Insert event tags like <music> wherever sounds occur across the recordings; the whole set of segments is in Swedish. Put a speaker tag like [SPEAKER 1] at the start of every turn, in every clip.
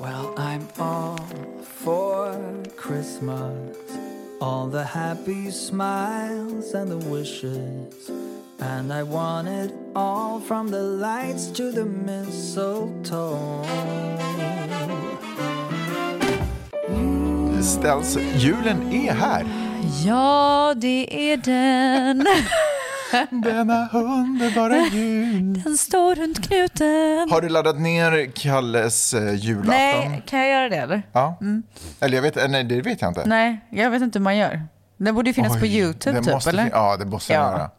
[SPEAKER 1] Well, I'm all for Christmas. All the happy smiles and the wishes. And I want it all from the lights to the mistletoe.
[SPEAKER 2] Ställs, julen är här.
[SPEAKER 3] Ja, det är den.
[SPEAKER 2] Denna underbara
[SPEAKER 3] <laughs>
[SPEAKER 2] jul.
[SPEAKER 3] Den står runt knuten.
[SPEAKER 2] Har du laddat ner Kalles eh, julafton?
[SPEAKER 3] Nej, kan jag göra det eller?
[SPEAKER 2] Ja. Eller jag vet, eh, nej, det vet jag inte.
[SPEAKER 3] Nej, jag vet inte hur man gör. Den borde ju finnas på
[SPEAKER 2] Oj,
[SPEAKER 3] YouTube
[SPEAKER 2] den
[SPEAKER 3] typ,
[SPEAKER 2] måste
[SPEAKER 3] eller?
[SPEAKER 2] fin- Ja, det måste
[SPEAKER 3] Ja.
[SPEAKER 2] den göra.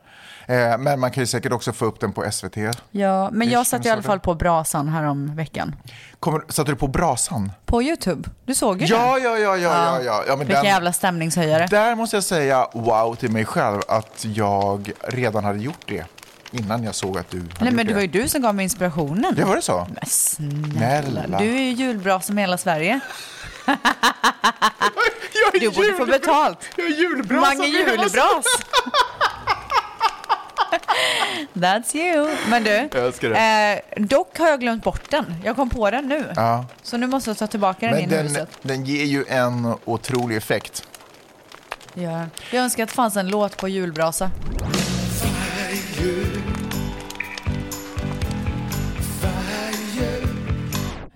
[SPEAKER 2] Eh, men man kan ju säkert också få upp den på SVT.
[SPEAKER 3] Ja, men
[SPEAKER 2] Det
[SPEAKER 3] jag
[SPEAKER 2] känns
[SPEAKER 3] satt i alla
[SPEAKER 2] så.
[SPEAKER 3] fall på brasan här om veckan.
[SPEAKER 2] Kommer, satte du på brasan?
[SPEAKER 3] På YouTube. Du såg ju
[SPEAKER 2] Ja,
[SPEAKER 3] den.
[SPEAKER 2] ja, ja, ja, ja, ja. ja men
[SPEAKER 3] Vilken
[SPEAKER 2] den,
[SPEAKER 3] jävla stämningshöjare.
[SPEAKER 2] där måste jag säga wow till mig själv att jag redan hade gjort det innan jag såg att du hade
[SPEAKER 3] Nej,
[SPEAKER 2] gjort
[SPEAKER 3] men det
[SPEAKER 2] det.
[SPEAKER 3] var ju du som gav mig inspirationen.
[SPEAKER 2] Ja, var det så?
[SPEAKER 3] Men Snälla.
[SPEAKER 2] Snälla.
[SPEAKER 3] Du är ju julbrasan i hela Sverige.
[SPEAKER 2] Jag är
[SPEAKER 3] Du borde få
[SPEAKER 2] jul-
[SPEAKER 3] betalt.
[SPEAKER 2] Jag är julbrasan.
[SPEAKER 3] Mange
[SPEAKER 2] i hela
[SPEAKER 3] julbras. That's you. Men du,
[SPEAKER 2] Jag älskar
[SPEAKER 3] Eh, dock har jag glömt bort den. Jag kom på den nu.
[SPEAKER 2] Ja.
[SPEAKER 3] Så nu måste jag ta tillbaka den
[SPEAKER 2] Men
[SPEAKER 3] in i
[SPEAKER 2] den,
[SPEAKER 3] huset.
[SPEAKER 2] den ger ju en otrolig effekt.
[SPEAKER 3] Ja. Jag önskar att det fanns en låt på julbrasa. Jag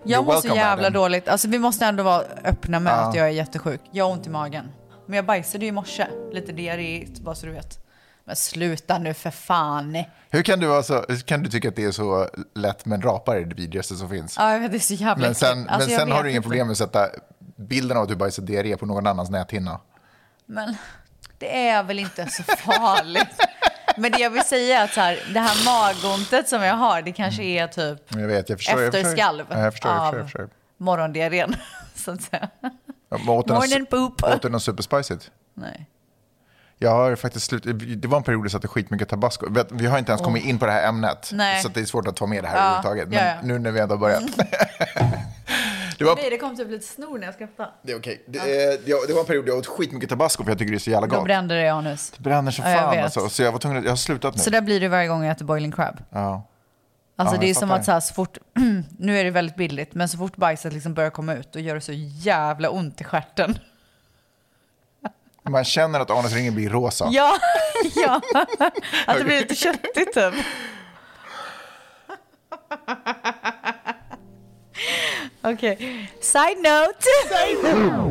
[SPEAKER 2] You're
[SPEAKER 3] mår så
[SPEAKER 2] welcome,
[SPEAKER 3] jävla
[SPEAKER 2] Adam.
[SPEAKER 3] dåligt. Alltså, vi måste ändå vara öppna med
[SPEAKER 2] Ja.
[SPEAKER 3] att jag är jättesjuk. Jag har ont i magen. Men jag bajsade ju i morse. Lite diarréigt, bara så du vet. Men sluta nu för fan.
[SPEAKER 2] Hur kan du, alltså, hur kan du tycka att det är så lätt men rapar är det vidrigaste som finns?
[SPEAKER 3] Ja, jag vet, det är så jävla
[SPEAKER 2] men sen,
[SPEAKER 3] äckligt. Alltså,
[SPEAKER 2] men
[SPEAKER 3] jag
[SPEAKER 2] sen har
[SPEAKER 3] vet
[SPEAKER 2] du inga
[SPEAKER 3] inte.
[SPEAKER 2] problem med att sätta bilden av att du bajsar diarré på någon annans näthinna.
[SPEAKER 3] Men det är väl inte så farligt. Men det jag vill säga är att så här, det här magontet som jag har, det kanske är typ
[SPEAKER 2] Men jag vet, jag förstår. jag förstår.
[SPEAKER 3] efterskalv
[SPEAKER 2] Ja, jag förstår, jag
[SPEAKER 3] av
[SPEAKER 2] förstår, jag förstår.
[SPEAKER 3] morgondiarrén. <laughs> Så att säga.
[SPEAKER 2] Ja, men åt den här-
[SPEAKER 3] Morning poop.
[SPEAKER 2] Åt du något superspicigt?
[SPEAKER 3] Nej.
[SPEAKER 2] Jag har faktiskt slut... Det var en period jag satte skitmycket tabasco. Vet, Vi har inte ens kommit in på det här ämnet.
[SPEAKER 3] Nej.
[SPEAKER 2] Så att det är svårt att ta med det här
[SPEAKER 3] Ja,
[SPEAKER 2] överhuvudtaget. Men
[SPEAKER 3] ja, ja.
[SPEAKER 2] nu när vi ändå har börjat.
[SPEAKER 3] <laughs>
[SPEAKER 2] det var
[SPEAKER 3] Nej, det kom typ lite snor när jag skrattade.
[SPEAKER 2] Det är okej. Det, eh, jag- det var en period jag åt skitmycket tabasco för jag tycker det är så jävla
[SPEAKER 3] Då
[SPEAKER 2] gott.
[SPEAKER 3] brände det i anus.
[SPEAKER 2] Det bränner som
[SPEAKER 3] Ja, jag
[SPEAKER 2] fan
[SPEAKER 3] vet.
[SPEAKER 2] alltså. Så jag var tvungen att, jag har slutat nu.
[SPEAKER 3] Så där blir det varje gång jag äter boiling crab.
[SPEAKER 2] Ja.
[SPEAKER 3] Alltså
[SPEAKER 2] Ja,
[SPEAKER 3] det är
[SPEAKER 2] jag
[SPEAKER 3] som
[SPEAKER 2] fattar.
[SPEAKER 3] att så, här, så fort, <clears throat> nu är det väldigt billigt, men så fort bajset liksom börjar komma ut då gör det så jävla ont i stjärten.
[SPEAKER 2] Man känner att anusringen blir rosa.
[SPEAKER 3] Ja, ja. <laughs> Att det blir lite
[SPEAKER 2] <laughs>
[SPEAKER 3] köttigt typ. Okej, side note.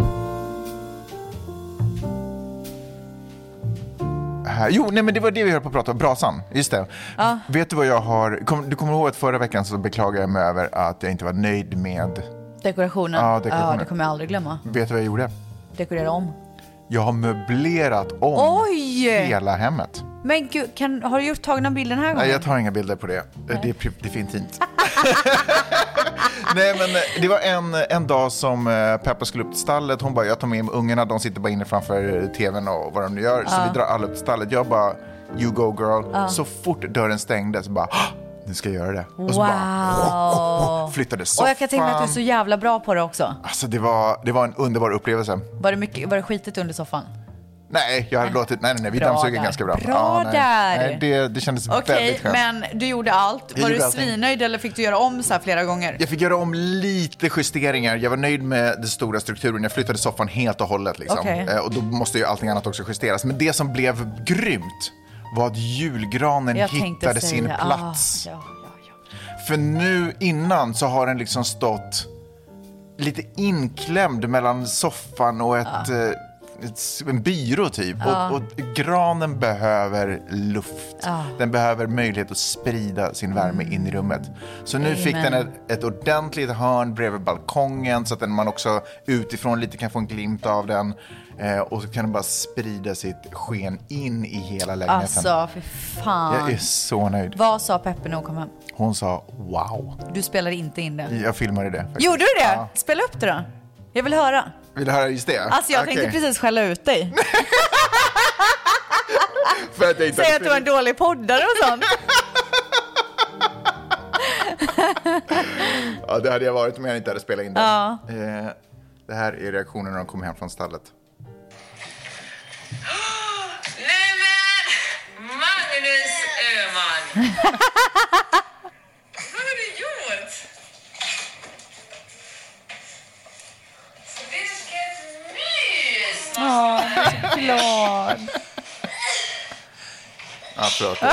[SPEAKER 2] Här- Jo, nej men det var det vi höll på att prata om. Brasan, just det. Vet du vad jag har... Kom, du kommer ihåg att förra veckan så beklagade jag mig över att jag inte var nöjd med...
[SPEAKER 3] Dekorationen.
[SPEAKER 2] Ja, dekorationen.
[SPEAKER 3] det kommer jag aldrig glömma.
[SPEAKER 2] Vet du vad jag gjorde?
[SPEAKER 3] Dekorera om.
[SPEAKER 2] Jag har möblerat om
[SPEAKER 3] Oj!
[SPEAKER 2] hela hemmet.
[SPEAKER 3] Men gud, kan, har du gjort tagna bilden den här gången?
[SPEAKER 2] Nej, jag tar inga bilder på det. Det är, pri- det är för intimt. <laughs> Nej, men eh, det var en, en dag som eh, Peppa skulle upp till stallet. Hon bara, jag tar med mig ungarna. De sitter bara inne framför eh, tvn och vad de nu gör. Så vi drar alla upp till stallet. Jag bara, you go girl. Så fort dörren stängdes så bara, "Ah, nu ska jag göra det. Och så bara
[SPEAKER 3] Wow!
[SPEAKER 2] flyttade soffan.
[SPEAKER 3] Och jag kan tänka mig att du är så jävla bra på det också.
[SPEAKER 2] Alltså det var, det var en underbar upplevelse.
[SPEAKER 3] Var det, mycket, var det skitigt under soffan?
[SPEAKER 2] Nej, jag hade låtit, nej nej, nej vi
[SPEAKER 3] Bra
[SPEAKER 2] dammsög
[SPEAKER 3] där.
[SPEAKER 2] ganska bra.
[SPEAKER 3] Bra
[SPEAKER 2] nej.
[SPEAKER 3] där.
[SPEAKER 2] Nej, det, det kändes
[SPEAKER 3] Okej,
[SPEAKER 2] väldigt skönt.
[SPEAKER 3] men du gjorde allt.
[SPEAKER 2] Jag
[SPEAKER 3] Var du
[SPEAKER 2] gjorde allting.
[SPEAKER 3] svinnöjd eller fick du göra om så här flera gånger?
[SPEAKER 2] Jag fick göra om lite justeringar. Jag var nöjd med den stora strukturen. Jag flyttade soffan helt och hållet. Liksom.
[SPEAKER 3] Okej.
[SPEAKER 2] Eh, Och då måste ju allting annat också justeras. Men det som blev grymt var att julgranen
[SPEAKER 3] Jag tänkte
[SPEAKER 2] hittade sin
[SPEAKER 3] säga,
[SPEAKER 2] plats.
[SPEAKER 3] Ah, ja, ja, ja.
[SPEAKER 2] För nu innan så har den liksom stått lite inklämd mellan soffan och ett... eh, ett- en byrå typ. Och, och granen behöver luft. Den behöver möjlighet att sprida sin värme in i rummet. Så nu fick den ett, ett ordentligt hörn bredvid balkongen så att den, man också utifrån lite kan få en glimt av den. Eh, och så kan den bara sprida sitt sken in i hela lägenheten.
[SPEAKER 3] Alltså, för
[SPEAKER 2] Jag är
[SPEAKER 3] fan.
[SPEAKER 2] så nöjd.
[SPEAKER 3] Vad sa Peppe när hon kom hem?
[SPEAKER 2] Hon sa wow.
[SPEAKER 3] Du spelade inte in det.
[SPEAKER 2] Jag filmade det. faktiskt.
[SPEAKER 3] Gjorde du det?
[SPEAKER 2] Ja.
[SPEAKER 3] Spela upp det då. Jag vill höra.
[SPEAKER 2] Vill du höra just det?
[SPEAKER 3] Alltså jag
[SPEAKER 2] Okej.
[SPEAKER 3] tänkte precis skälla ut dig.
[SPEAKER 2] För att jag inte
[SPEAKER 3] Säga att
[SPEAKER 2] hade
[SPEAKER 3] du var en
[SPEAKER 2] filmat.
[SPEAKER 3] dålig poddare
[SPEAKER 2] <laughs>
[SPEAKER 3] och sånt.
[SPEAKER 2] Ja, det hade jag varit om jag inte hade spelat in det. Eh, det här är reaktionen när de kom hem från stallet.
[SPEAKER 4] Nej men! Magnus Öhman! Vad har du gjort? Vilket mys!
[SPEAKER 3] Glad.
[SPEAKER 2] Ja, förlåt. Det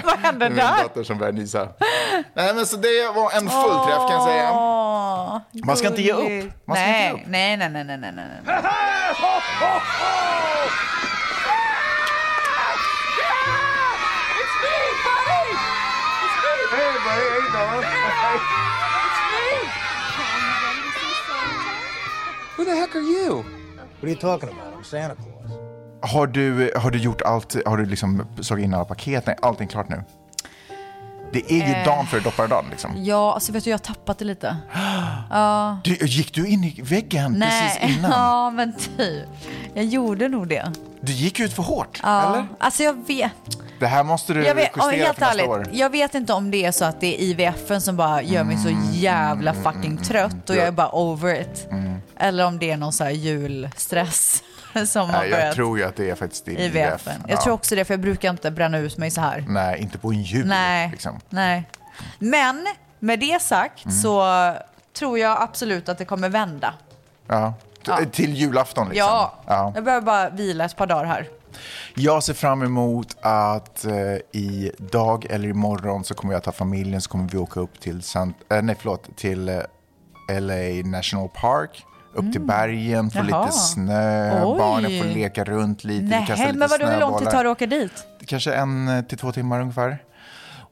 [SPEAKER 3] <laughs> Vad hände
[SPEAKER 2] är min
[SPEAKER 3] där?
[SPEAKER 2] dotter som börjar nysa. Nej, men så det var en fullträff kan jag säga.
[SPEAKER 3] Åh,
[SPEAKER 2] Man ska inte ge upp.
[SPEAKER 3] gulligt.
[SPEAKER 2] Man ska
[SPEAKER 3] nej,
[SPEAKER 2] inte ge upp.
[SPEAKER 3] nej, nej, nej, nej, nej, nej.
[SPEAKER 2] Har du, har du gjort allt? Har du liksom slagit in alla paket? Nej, allting klart nu? Det är ju
[SPEAKER 3] Eh.
[SPEAKER 2] dagen före dopparedagen liksom.
[SPEAKER 3] Ja, alltså vet du, jag har tappat det lite.
[SPEAKER 2] Du, gick du in i väggen precis innan?
[SPEAKER 3] <laughs> ja men typ. Jag gjorde nog det.
[SPEAKER 2] Du gick ut för hårt, eller?
[SPEAKER 3] Alltså jag vet,
[SPEAKER 2] Det här måste du
[SPEAKER 3] jag vet om,
[SPEAKER 2] justera
[SPEAKER 3] helt
[SPEAKER 2] för nästa
[SPEAKER 3] ärligt,
[SPEAKER 2] år.
[SPEAKER 3] jag vet inte om det är så att det är IVFen som bara gör mig så
[SPEAKER 2] Mm.
[SPEAKER 3] jävla fucking trött och jag är bara over it.
[SPEAKER 2] Mm.
[SPEAKER 3] Eller om det är någon så här julstress <laughs> som har
[SPEAKER 2] Nej, jag
[SPEAKER 3] börjat
[SPEAKER 2] tror ju att det är faktiskt din IVF.
[SPEAKER 3] IVFen. Jag
[SPEAKER 2] Ja.
[SPEAKER 3] tror också det, för jag brukar inte bränna ut mig så här.
[SPEAKER 2] Nej, inte på en jul.
[SPEAKER 3] Nej.
[SPEAKER 2] Liksom. Mm.
[SPEAKER 3] Nej. Men med det sagt så tror jag absolut att det kommer vända.
[SPEAKER 2] Ja. T- Till julafton liksom.
[SPEAKER 3] Ja.
[SPEAKER 2] ja.
[SPEAKER 3] jag behöver bara vila ett par dagar här.
[SPEAKER 2] Jag ser fram emot att eh, i dag eller imorgon så kommer jag ta familjen så kommer vi åka upp till, Sant, eh, nej, förlåt, till eh, LA National Park. Upp till bergen, få
[SPEAKER 3] Mm. Jaha.
[SPEAKER 2] lite snö,
[SPEAKER 3] Oj.
[SPEAKER 2] barnen får leka runt lite, vi kastar
[SPEAKER 3] Nej,
[SPEAKER 2] lite
[SPEAKER 3] men vadå hur lång tid
[SPEAKER 2] snöbollar.
[SPEAKER 3] tar det att åka dit?
[SPEAKER 2] Kanske en eh, till två timmar ungefär.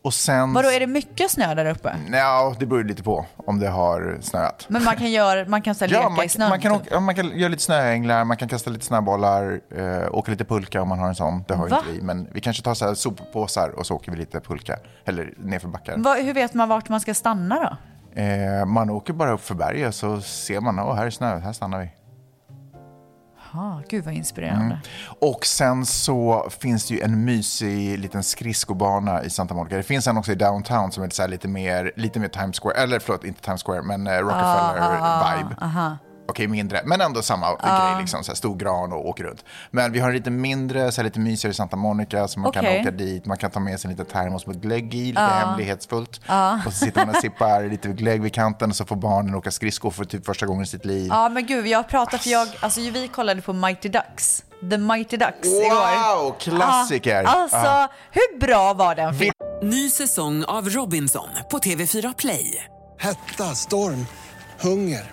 [SPEAKER 2] Och sen...
[SPEAKER 3] Vadå, är det mycket snö där uppe?
[SPEAKER 2] Mm. Nja, det beror lite på om det har snöat.
[SPEAKER 3] Men man kan, göra, man kan så här leka
[SPEAKER 2] Ja, man,
[SPEAKER 3] i snön?
[SPEAKER 2] man, kan
[SPEAKER 3] typ.
[SPEAKER 2] åka, ja, man kan göra lite snöänglar, man kan kasta lite snöbollar, eh, åka lite pulka om man har en sån. Det har ju
[SPEAKER 3] Va?
[SPEAKER 2] inte vi, men vi kanske tar så här soppåsar och så åker vi lite pulka, eller nerför backar.
[SPEAKER 3] Vad- hur vet man vart man ska stanna då?
[SPEAKER 2] Eh, man åker bara upp för berget så ser man, åh här är snö, här stannar vi.
[SPEAKER 3] Ah, gud vad inspirerande.
[SPEAKER 2] Och sen så finns det ju en mysig liten skridskobana i Santa Monica. Det finns en också i downtown som är så här lite mer, lite mer Times Square, eller förlåt, inte Times Square, men eh,
[SPEAKER 3] Ah,
[SPEAKER 2] Rockefeller-vibe. Okej, mindre, men ändå samma
[SPEAKER 3] Ah.
[SPEAKER 2] grej, liksom, så här, stor gran och åker runt. Men vi har en lite mindre, så här, lite mysigare Santa Monica, så man kan
[SPEAKER 3] Okej. Ah.
[SPEAKER 2] åka dit, man kan ta med sig en liten termos med glögg i, lite hemlighetsfullt. Och så sitter man och sippar <laughs> lite glögg vid kanten och så får barnen åka skridskor för typ första gången i sitt liv.
[SPEAKER 3] Ja men gud, jag pratar för jag, alltså ju vi kollade på Mighty Ducks, The Mighty Ducks igår.
[SPEAKER 2] Wow, klassiker! Ah.
[SPEAKER 3] Ja, Ah. Alltså,
[SPEAKER 2] Ja.
[SPEAKER 3] hur bra var den filmen?
[SPEAKER 5] Ny säsong av Robinson på TV4 Play.
[SPEAKER 6] Hetta, storm, hunger.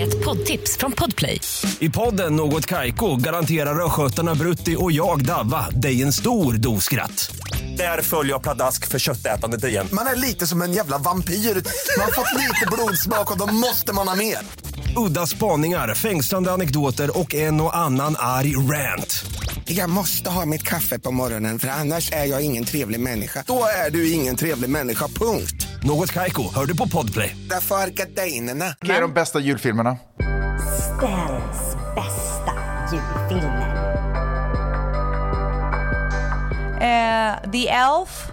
[SPEAKER 7] Ett poddtips från Podplay.
[SPEAKER 8] I podden Något Kaiko garanterar östgötarna Brutti och jag, Davva, dig en stor dos skratt. Där följer jag pladask för köttätandet igen.
[SPEAKER 9] Man är lite som en jävla vampyr. Man har fått lite blodsmak och då måste man ha mer.
[SPEAKER 8] Udda spaningar, fängslande anekdoter och en och annan arg rant.
[SPEAKER 9] Jag måste ha mitt kaffe på morgonen för annars är jag ingen trevlig människa. Då är du ingen trevlig människa, punkt.
[SPEAKER 8] Något Kaiko, hör du på Podplay.
[SPEAKER 9] Därför är gardinerna.
[SPEAKER 2] Vilka är de bästa julfilmerna?
[SPEAKER 10] Stens bästa julfilmer.
[SPEAKER 3] Eh, The Elf,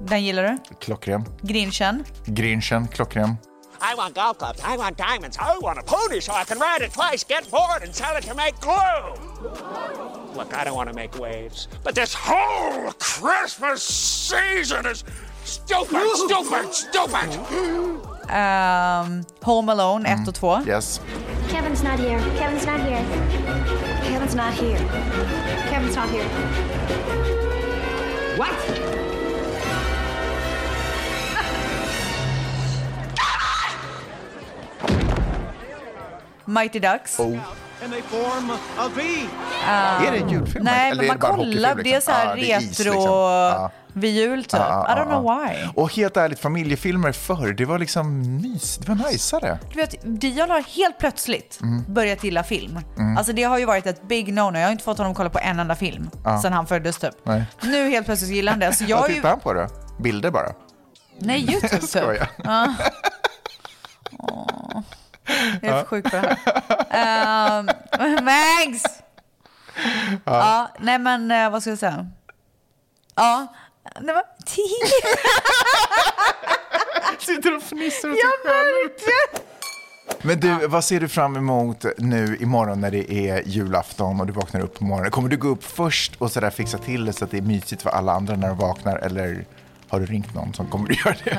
[SPEAKER 3] den gillar du.
[SPEAKER 2] Klockren.
[SPEAKER 3] Grinchen.
[SPEAKER 2] Grinchen, klockren.
[SPEAKER 4] I want golf clubs, I want diamonds, I want a pony so I can ride it twice, get bored, and sell it to make glue! Look, I don't want to make waves, but this whole Christmas season is Stupid, stupid, stupid!
[SPEAKER 3] Ehm, Home Alone
[SPEAKER 2] Mm.
[SPEAKER 3] 1 och 2.
[SPEAKER 2] Yes.
[SPEAKER 7] Kevin's not here. Kevin's not here. Kevin's not here. Kevin's not here. What?
[SPEAKER 3] Mighty Ducks.
[SPEAKER 11] And they form a V.
[SPEAKER 2] är det en julfilm?
[SPEAKER 3] Ah. Nej,
[SPEAKER 2] Eller är
[SPEAKER 3] men man
[SPEAKER 2] det bara en
[SPEAKER 3] kollar.
[SPEAKER 2] hockeyfilm,
[SPEAKER 3] Det är så här
[SPEAKER 2] Ah, det är is,
[SPEAKER 3] retro...
[SPEAKER 2] liksom. Ah.
[SPEAKER 3] Vid jul typ.
[SPEAKER 2] Ah,
[SPEAKER 3] I
[SPEAKER 2] ah,
[SPEAKER 3] don't know
[SPEAKER 2] ah.
[SPEAKER 3] why.
[SPEAKER 2] Och helt ärligt, familjefilmer förr, det var liksom mys. Det var najsare.
[SPEAKER 3] Du vet, Dion har helt plötsligt
[SPEAKER 2] Mm.
[SPEAKER 3] börjat gilla film.
[SPEAKER 2] Mm.
[SPEAKER 3] Alltså det har ju varit ett big no-no. Jag har inte fått honom att kolla på en enda film
[SPEAKER 2] Ja.
[SPEAKER 3] sedan han föddes typ.
[SPEAKER 2] Nej.
[SPEAKER 3] Nu helt plötsligt gillar han det. Så jag
[SPEAKER 2] Vad <laughs>
[SPEAKER 3] har ju...
[SPEAKER 2] tittar han på då? Bilder bara?
[SPEAKER 3] Nej,
[SPEAKER 2] <laughs>
[SPEAKER 3] YouTube typ.
[SPEAKER 2] Skojar.
[SPEAKER 3] Ja. Åh. Jag är för sjuk för det här. Um, <laughs> Mags! Ja. nej men eh, vad ska jag säga? Ja, nej men... <laughs>
[SPEAKER 2] Sitter och fnissar åt
[SPEAKER 3] sig själv.
[SPEAKER 2] Men du, vad ser du fram emot nu imorgon när det är julafton och du vaknar upp på morgonen? Kommer du gå upp först och sådär fixa till det så att det är mysigt för alla andra när de vaknar? Eller har du ringt någon som kommer <laughs> att göra det?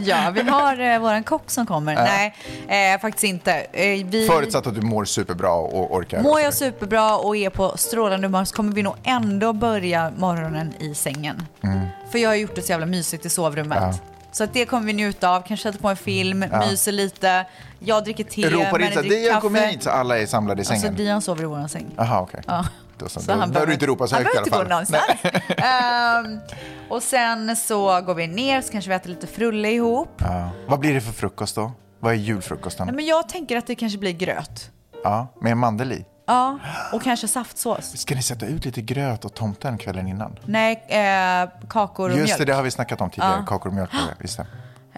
[SPEAKER 3] Ja, vi har eh, våran kock som kommer.
[SPEAKER 2] Ja.
[SPEAKER 3] Nej, eh, faktiskt inte. Eh, vi...
[SPEAKER 2] Förutsatt att du mår superbra och orkar.
[SPEAKER 3] Mår jag superbra och är på strålande humör så kommer vi nog ändå börja morgonen i sängen.
[SPEAKER 2] Mm.
[SPEAKER 3] För jag har gjort det så jävla mysigt i sovrummet.
[SPEAKER 2] Ja.
[SPEAKER 3] Så att det kommer vi njuta av. Kanske sätta på en film,
[SPEAKER 2] Ja.
[SPEAKER 3] myser lite. Jag dricker te,
[SPEAKER 2] Ropar in
[SPEAKER 3] Mary
[SPEAKER 2] så här,
[SPEAKER 3] dricker
[SPEAKER 2] Dion kom
[SPEAKER 3] kaffe."
[SPEAKER 2] hit så alla är samlade i
[SPEAKER 3] Alltså
[SPEAKER 2] sängen.
[SPEAKER 3] Dion sover i våran säng.
[SPEAKER 2] Jaha, okej.
[SPEAKER 3] Ja.
[SPEAKER 2] Då så.
[SPEAKER 3] Så
[SPEAKER 2] Då
[SPEAKER 3] han
[SPEAKER 2] behöver
[SPEAKER 3] behöver-
[SPEAKER 2] du inte ropa så
[SPEAKER 3] han
[SPEAKER 2] högt i alla fall.
[SPEAKER 3] behöver inte gå Ehm, och sen så går vi ner så kanske vi äter lite frulle ihop.
[SPEAKER 2] Ja. Vad blir det för frukost då? Vad är julfrukosten?
[SPEAKER 3] Nej, Men jag tänker att det kanske blir gröt.
[SPEAKER 2] Ja, med mandel i.
[SPEAKER 3] Ja, och kanske saftsås.
[SPEAKER 2] Ska ni sätta ut lite gröt och tomten kvällen innan?
[SPEAKER 3] Nej, eh, kakor och
[SPEAKER 2] Just
[SPEAKER 3] mjölk.
[SPEAKER 2] det, det har vi snackat om tidigare.
[SPEAKER 3] Ja.
[SPEAKER 2] Kakor och
[SPEAKER 3] <gasps>
[SPEAKER 2] mjölk. eller? Visst det.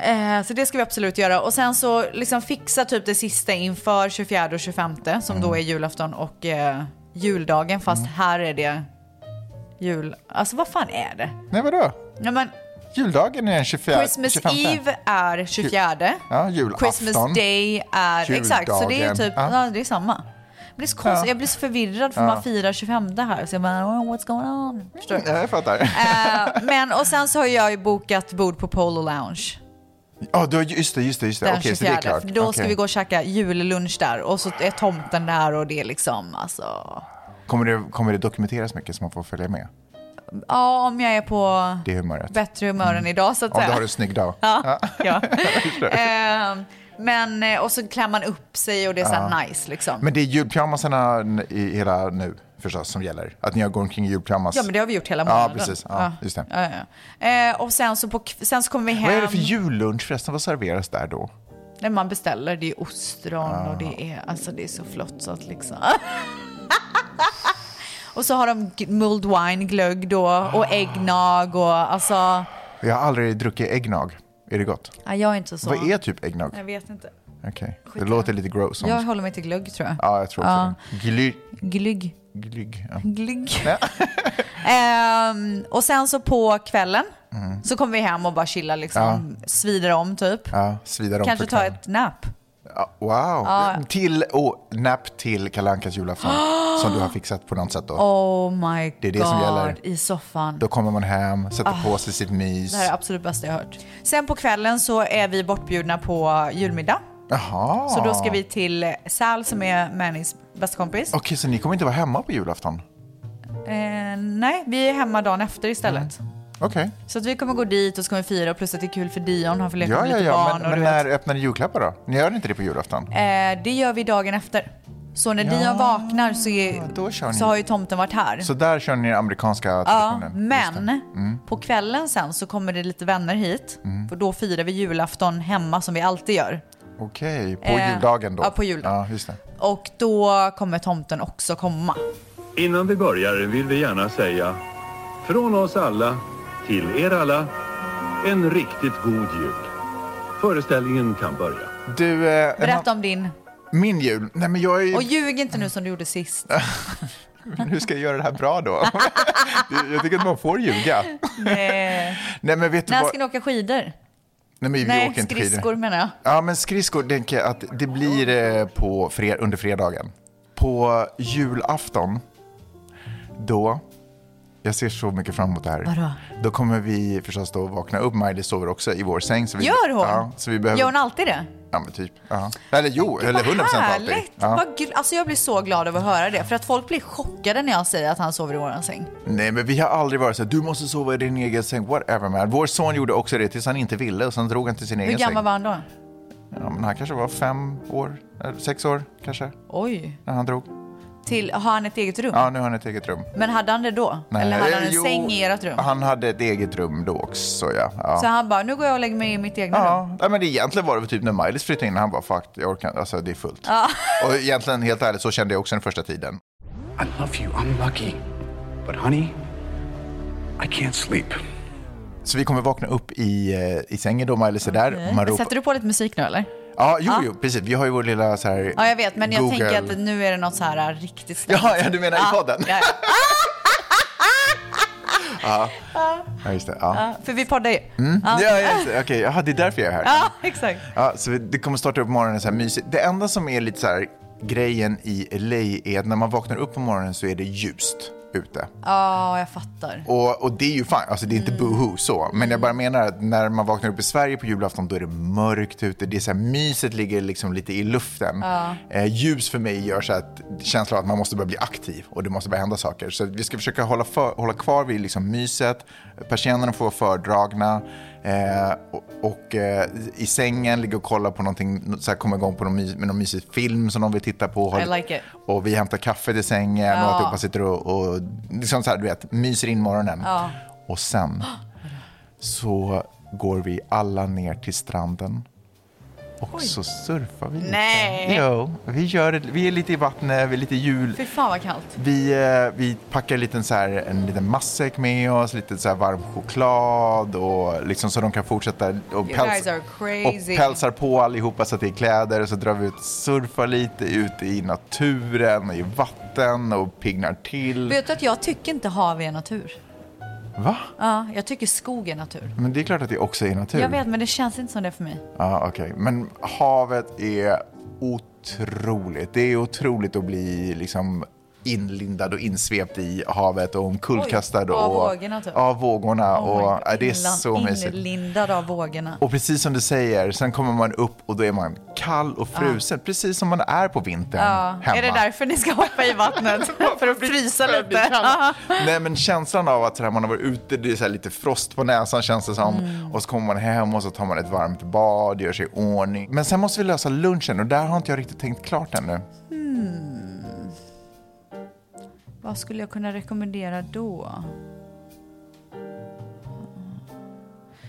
[SPEAKER 3] Eh, så det ska vi absolut göra. Och sen så liksom fixa typ det sista inför 24 och 25 som
[SPEAKER 2] Mm.
[SPEAKER 3] då är julafton och eh, juldagen. Fast här är det jul... Alltså vad fan är det?
[SPEAKER 2] Nej, vadå?
[SPEAKER 3] Nej, men,
[SPEAKER 2] Juldagen är den 24,
[SPEAKER 3] Christmas
[SPEAKER 2] 25.
[SPEAKER 3] Eve är 24.
[SPEAKER 2] Ja, julafton.
[SPEAKER 3] Christmas Day är... Exakt, så det är
[SPEAKER 2] Juldagen.
[SPEAKER 3] typ...
[SPEAKER 2] Ja.
[SPEAKER 3] Ja. det är samma. Men det är så konstigt, Jag blir så förvirrad för
[SPEAKER 2] Ja.
[SPEAKER 3] man firar 25 här. Så jag bara, oh, what's going on? Förstår du?
[SPEAKER 2] Ja, jag fattar.
[SPEAKER 3] Eh, men och sen så har jag ju bokat bord på Polo Lounge.
[SPEAKER 2] Ja, du har just det, just det, just det.
[SPEAKER 3] den
[SPEAKER 2] Okej, så det är
[SPEAKER 3] 24.
[SPEAKER 2] klart.
[SPEAKER 3] För då ska
[SPEAKER 2] Okej.
[SPEAKER 3] vi gå och käka jullunch där och så är tomten där och det är liksom alltså.
[SPEAKER 2] Kommer det, kommer det dokumenteras mycket så man får följa med?
[SPEAKER 3] Ja, om jag är på
[SPEAKER 2] Det humöret.
[SPEAKER 3] bättre humör än idag så att
[SPEAKER 2] Om du
[SPEAKER 3] säga.
[SPEAKER 2] har en snygg dag.
[SPEAKER 3] Ja, ja.
[SPEAKER 2] Jag förstår.
[SPEAKER 3] Ehm, men eh, och så klär man upp sig och det är så här
[SPEAKER 2] Ja.
[SPEAKER 3] nice liksom.
[SPEAKER 2] Men det är julpyjamasarna n- i hela nu förstås som gäller. Att ni har går omkring i julpyjamas.
[SPEAKER 3] Ja men det har vi gjort hela månaden.
[SPEAKER 2] Ja, precis. Ja, Just det.
[SPEAKER 3] Ja, ja. Eh, och sen så, på, k- sen så kommer vi hem.
[SPEAKER 2] Vad är det för jullunch förresten? Vad serveras där då?
[SPEAKER 3] När man beställer, det är ostron och
[SPEAKER 2] Ah.
[SPEAKER 3] det är, alltså det är så flott så att liksom. <laughs> och så har de g- mulled wine, glögg då
[SPEAKER 2] Ah.
[SPEAKER 3] och äggnag och alltså,
[SPEAKER 2] Jag har aldrig druckit äggnog. Är det gott?
[SPEAKER 3] nej, jag är inte så.
[SPEAKER 2] Vad är typ äggnog?
[SPEAKER 3] Jag vet inte.
[SPEAKER 2] Okej, det låter lite gross. som-
[SPEAKER 3] Jag håller mig till glögg tror jag.
[SPEAKER 2] Ja, jag tror också det. Gly...
[SPEAKER 3] Glygg.
[SPEAKER 2] Glygg. Ja. <laughs>
[SPEAKER 3] Glygg. <laughs> Ehm, och sen så på kvällen
[SPEAKER 2] Mm.
[SPEAKER 3] så kommer vi hem och bara chilla liksom, svider om typ.
[SPEAKER 2] Ja, svidar om
[SPEAKER 3] Kanske
[SPEAKER 2] för
[SPEAKER 3] ta
[SPEAKER 2] knä.
[SPEAKER 3] ett nap.
[SPEAKER 2] Ja, Wow.
[SPEAKER 3] Ja.
[SPEAKER 2] Till, oh, napp till Kalankas julafton som du har fixat på något sätt då.
[SPEAKER 3] Oh my god,
[SPEAKER 2] Det är det som gäller.
[SPEAKER 3] i soffan.
[SPEAKER 2] Då kommer man hem, sätter
[SPEAKER 3] Ah.
[SPEAKER 2] på sig sitt mys.
[SPEAKER 3] Det här är det absolut bästa jag har hört. Sen på kvällen så är vi bortbjudna på julmiddag.
[SPEAKER 2] Jaha.
[SPEAKER 3] Så då ska vi till Sal som är Mannys bästa kompis.
[SPEAKER 2] Okej, så ni kommer inte vara hemma på julafton?
[SPEAKER 3] Eh, nej, vi är hemma dagen efter istället.
[SPEAKER 2] Okej.
[SPEAKER 3] Så att vi kommer gå dit och så kommer vi fira och plus att det är kul för Dion, han får leka
[SPEAKER 2] Ja,
[SPEAKER 3] med
[SPEAKER 2] ja,
[SPEAKER 3] lite
[SPEAKER 2] ja.
[SPEAKER 3] barn.
[SPEAKER 2] Men,
[SPEAKER 3] och
[SPEAKER 2] men
[SPEAKER 3] du vet.
[SPEAKER 2] när öppnar ni julklappar då? Ni gör inte det på julafton?
[SPEAKER 3] Eh, det gör vi dagen efter. Så när
[SPEAKER 2] Ja,
[SPEAKER 3] Dion vaknar så, är,
[SPEAKER 2] kör ni.
[SPEAKER 3] så har ju tomten varit här.
[SPEAKER 2] Så där kör ni den amerikanska
[SPEAKER 3] Ja,
[SPEAKER 2] traditionen?
[SPEAKER 3] men
[SPEAKER 2] Mm.
[SPEAKER 3] på kvällen sen så kommer det lite vänner hit.
[SPEAKER 2] Mm.
[SPEAKER 3] För då firar vi julafton hemma som vi alltid gör.
[SPEAKER 2] Okej, på
[SPEAKER 3] Eh,
[SPEAKER 2] juldagen då?
[SPEAKER 3] ja, på juldagen.
[SPEAKER 2] Ja, just det.
[SPEAKER 3] Och då kommer tomten också komma.
[SPEAKER 12] Innan vi börjar vill vi gärna säga från oss alla till er alla en riktigt god jul. Föreställningen kan börja.
[SPEAKER 2] Du, eh, en
[SPEAKER 3] Berätta om din.
[SPEAKER 2] annan- min jul? Nej, men jag är ju...
[SPEAKER 3] Och <laughs> ljug inte nu som du gjorde sist.
[SPEAKER 2] Men hur ska jag göra det här bra
[SPEAKER 3] <laughs>
[SPEAKER 2] då? jag tycker att man får ljuga.
[SPEAKER 3] Nej.
[SPEAKER 2] Nej men vet du
[SPEAKER 3] När
[SPEAKER 2] vad?
[SPEAKER 3] ska ni åka skidor?
[SPEAKER 2] Nej men vi
[SPEAKER 3] Nej,
[SPEAKER 2] åker inte
[SPEAKER 3] skridskor
[SPEAKER 2] skidor.
[SPEAKER 3] menar jag.
[SPEAKER 2] Ja men skridskor tänker jag att det blir eh, på fred- under fredagen. På julafton, då Jag ser så mycket fram emot det här.
[SPEAKER 3] Vadå?
[SPEAKER 2] Då kommer vi förstås då vakna upp. Miley sover också i vår säng. Så vi,
[SPEAKER 3] Gör hon?
[SPEAKER 2] Ja, så vi behöver...
[SPEAKER 3] Gör hon alltid det?
[SPEAKER 2] Ja, men typ. Ja. Eller jo, eller 100% alltid.
[SPEAKER 3] Härligt!
[SPEAKER 2] Ja.
[SPEAKER 3] Vad gl- alltså jag blir så glad över att höra det, för att folk blir chockade när jag säger att han sover i våran säng.
[SPEAKER 2] Nej, men vi har aldrig varit så här, du måste sova i din egen säng, whatever man. Vår son gjorde också det tills han inte ville och sen drog han till sin
[SPEAKER 3] Hur
[SPEAKER 2] egen säng.
[SPEAKER 3] gammal var han då?
[SPEAKER 2] Ja, men han kanske var fem år, eller sex år kanske,
[SPEAKER 3] Oj.
[SPEAKER 2] när han drog.
[SPEAKER 3] Till, har han ett eget rum?
[SPEAKER 2] Ja, nu har han ett eget rum.
[SPEAKER 3] Men hade han det då?
[SPEAKER 2] Nej. Eh,
[SPEAKER 3] Eller hade han en
[SPEAKER 2] Jo,
[SPEAKER 3] säng i ert rum?
[SPEAKER 2] Han hade ett eget rum då också, ja. ja.
[SPEAKER 3] Så han bara, nu går jag och lägger mig i mitt egna rum.
[SPEAKER 2] Ja, men det egentligen var det väl typ när Miley flyttade in, han bara fuck, jag orkar inte. alltså det är fullt.
[SPEAKER 3] Ja.
[SPEAKER 2] <laughs> Och egentligen, helt ärligt, så kände jag också den första tiden.
[SPEAKER 13] I love you. I'm lucky. But, honey, I can't sleep.
[SPEAKER 2] Så vi kommer vakna upp i, eh, i sängen då Miley är där.
[SPEAKER 3] Okej.
[SPEAKER 2] och Man ropar,
[SPEAKER 3] Sätter du på lite musik nu eller?
[SPEAKER 2] ja, jo,
[SPEAKER 3] Ja.
[SPEAKER 2] jo, precis. Vi har ju vår lilla så här
[SPEAKER 3] Ja, jag vet, men jag
[SPEAKER 2] Google.
[SPEAKER 3] tänker att nu är det något så här riktigt stängt.
[SPEAKER 2] Ja, ja, du menar i podden?
[SPEAKER 3] Ja,
[SPEAKER 2] Ja,
[SPEAKER 3] ja.
[SPEAKER 2] ja just det.
[SPEAKER 3] Ja,
[SPEAKER 2] Ja.
[SPEAKER 3] för vi poddar ju.
[SPEAKER 2] Mm.
[SPEAKER 3] Ja.
[SPEAKER 2] Ja, ja, just det. Okej, jaha, det är därför jag är här.
[SPEAKER 3] Ja, exakt.
[SPEAKER 2] Ja, så vi- det kommer starta upp morgonen så här mysigt. Det enda som är lite så här grejen i LA är att när man vaknar upp på morgonen så är det ljust ute.
[SPEAKER 3] Ja, jag fattar.
[SPEAKER 2] Och, och det är ju fine, alltså det är
[SPEAKER 3] Mm.
[SPEAKER 2] inte boohoo så. Men jag bara menar att när man vaknar upp i Sverige på julafton då är det mörkt ute. Det är så här, myset ligger liksom lite i luften.
[SPEAKER 3] Ja.
[SPEAKER 2] Eh, ljus för mig gör så att känslan av att man måste börja bli aktiv och det måste börja hända saker. Så vi ska försöka hålla, för, hålla kvar vid liksom myset, persiennerna får vara fördragna eh, och, och eh, i sängen ligga och kolla på någonting, så här, komma igång på någon, mys- med någon mysig film som de vill titta på.
[SPEAKER 3] I like it.
[SPEAKER 2] Och vi hämtar kaffe till sängen
[SPEAKER 3] Ja.
[SPEAKER 2] och alltihopa sitter och, och liksom så här, du vet, myser in morgonen.
[SPEAKER 3] Ja.
[SPEAKER 2] Och sen så går vi alla ner till stranden och så surfar vi lite.
[SPEAKER 3] Nej.
[SPEAKER 2] Jo, vi, gör det, vi är lite i vattnet, vi är lite i jul.
[SPEAKER 3] Fy fan vad kallt.
[SPEAKER 2] Vi, eh, vi packar lite så här, en liten matsäck med oss, lite så här varm choklad och liksom så de kan fortsätta och,
[SPEAKER 3] You guys
[SPEAKER 2] pälsa,
[SPEAKER 3] are crazy.
[SPEAKER 2] och pälsar på allihopa så att det är kläder och så drar vi ut och surfar lite ute i naturen och i vatten och pignar till.
[SPEAKER 3] Vet du att jag tycker inte hav är natur?
[SPEAKER 2] Va?
[SPEAKER 3] Ja, jag tycker skog är natur.
[SPEAKER 2] Men det är klart att det också är natur.
[SPEAKER 3] Jag vet, men det känns inte som det för mig.
[SPEAKER 2] Ja, okej. Men havet är otroligt. Det är otroligt att bli liksom inlindad och insvept i havet och omkullkastad.
[SPEAKER 3] av
[SPEAKER 2] och,
[SPEAKER 3] vågorna, typ.
[SPEAKER 2] Av vågorna.
[SPEAKER 3] Oh my
[SPEAKER 2] och,
[SPEAKER 3] God,
[SPEAKER 2] ja, det är
[SPEAKER 3] inland-
[SPEAKER 2] så mysigt.
[SPEAKER 3] Inlindad av vågorna.
[SPEAKER 2] Och precis som du säger, sen kommer man upp och då är man kall och frusen, precis som man är på vintern hemma.
[SPEAKER 3] Är det <laughs> därför ni ska hoppa i
[SPEAKER 2] <laughs>
[SPEAKER 3] vattnet? för att frysa lite? Ja.
[SPEAKER 2] Nej men känslan av att så här, man har varit ute, det är så här lite frost på näsan känns det som.
[SPEAKER 3] Mm.
[SPEAKER 2] Och så kommer man hem och så tar man ett varmt bad, gör sig i ordning. Men sen måste vi lösa lunchen och där har inte jag riktigt tänkt klart ännu.
[SPEAKER 3] Hmm. Vad skulle jag kunna rekommendera då?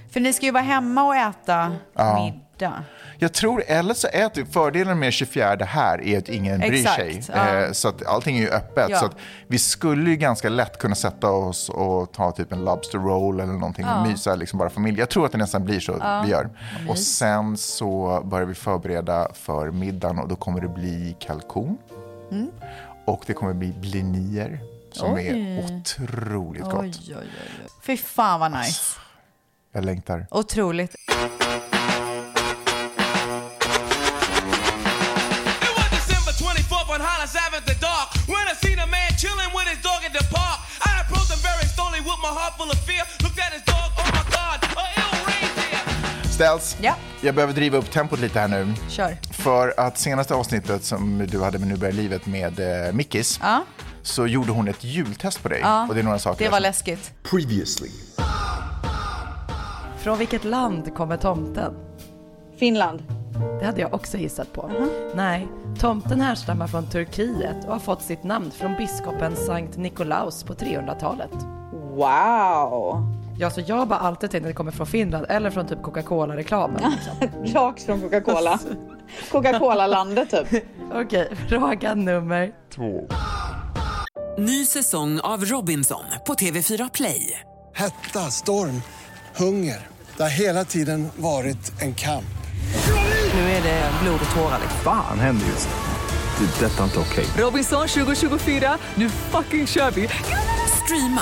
[SPEAKER 3] För ni ska ju vara hemma och äta
[SPEAKER 2] Ja.
[SPEAKER 3] middag.
[SPEAKER 2] Jag tror, eller så är typ fördelen med 24 här är att ingen bryr
[SPEAKER 3] Exakt,
[SPEAKER 2] sig.
[SPEAKER 3] ja.
[SPEAKER 2] Eh, Så att allting är ju öppet.
[SPEAKER 3] Ja.
[SPEAKER 2] Så att vi skulle ju ganska lätt kunna sätta oss och ta typ en lobster roll eller någonting
[SPEAKER 3] Ja.
[SPEAKER 2] och mysa liksom bara familj. Jag tror att det nästan blir så
[SPEAKER 3] Ja.
[SPEAKER 2] vi gör.
[SPEAKER 3] Mys.
[SPEAKER 2] Och sen så börjar vi förbereda för middagen och då kommer det bli kalkon.
[SPEAKER 3] Mm.
[SPEAKER 2] Och det kommer bli blinier som
[SPEAKER 3] Oj.
[SPEAKER 2] är otroligt gott. Alltså.
[SPEAKER 3] Oj, oj, oj, oj. Fy fan vad nice.
[SPEAKER 2] Jag längtar.
[SPEAKER 3] Otroligt.
[SPEAKER 14] It was December 24th on Hollis Avenue, the dark. When I seen a man chilling with his dog at the park, I approached him very slowly with my heart full of fear. Looked at his dog, oh my god, a ill reindeer.
[SPEAKER 2] Ställs,
[SPEAKER 3] Ja.
[SPEAKER 2] jag behöver driva upp tempot lite här nu.
[SPEAKER 3] Kör.
[SPEAKER 2] För att senaste avsnittet som du hade med Nu börjar livet med eh, Mickis
[SPEAKER 3] Ja.
[SPEAKER 2] så gjorde hon ett jultest på dig.
[SPEAKER 3] Ja.
[SPEAKER 2] Och det är några saker.
[SPEAKER 3] Det var läskigt.
[SPEAKER 2] Previously.
[SPEAKER 15] Från vilket land kommer tomten?
[SPEAKER 3] Finland.
[SPEAKER 15] Det hade jag också gissat på. Nej, tomten härstammar från Turkiet och har fått sitt namn från biskopen Sankt Nikolaus på 300-talet.
[SPEAKER 3] Wow!
[SPEAKER 15] Ja, så jag har bara alltid tänkt att det kommer från Finland eller från typ Coca-Cola-reklamen. liksom.
[SPEAKER 3] Rakt från <laughs> Coca-Cola. Coca-Cola-landet typ.
[SPEAKER 15] Okej, <laughs> fråga nummer två.
[SPEAKER 5] Ny säsong av Robinson på TV4 Play.
[SPEAKER 6] Hetta, storm, hunger. Det har hela tiden varit en kamp.
[SPEAKER 16] Nu är det blod och tårar. Fan händer just det. Det är detta inte okej.
[SPEAKER 5] Robinson 2024, nu fucking kör vi! Streama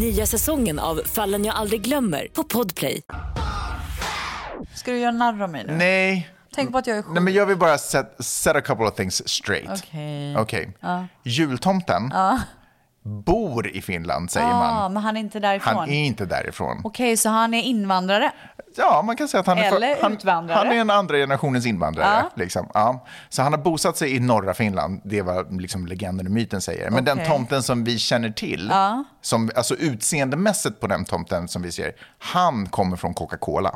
[SPEAKER 17] Nya säsongen av Fallen jag aldrig glömmer på Podplay.
[SPEAKER 3] Ska du göra narr av mig nu?
[SPEAKER 2] Nej.
[SPEAKER 3] Tänk på att jag är sjuk.
[SPEAKER 2] Nej, men jag vill bara set, set a couple of things straight.
[SPEAKER 3] Okej.
[SPEAKER 2] Okej.
[SPEAKER 3] Ja.
[SPEAKER 2] Jultomten
[SPEAKER 3] Ja.
[SPEAKER 2] bor i Finland, säger
[SPEAKER 3] Ah,
[SPEAKER 2] man.
[SPEAKER 3] men han är inte därifrån.
[SPEAKER 2] Han är inte därifrån.
[SPEAKER 3] Okej, så han är invandrare?
[SPEAKER 2] Ja, man kan säga att han är, för-
[SPEAKER 3] Eller
[SPEAKER 2] han,
[SPEAKER 3] utvandrare.
[SPEAKER 2] han är en andra generationens invandrare.
[SPEAKER 3] Ja.
[SPEAKER 2] Liksom. Ja. Så han har bosatt sig i norra Finland, det är vad liksom legenden och myten säger. Men den
[SPEAKER 3] Okej.
[SPEAKER 2] tomten som vi känner till,
[SPEAKER 3] Ja.
[SPEAKER 2] som, alltså utseendemässigt på den tomten som vi ser, han kommer från Coca-Cola.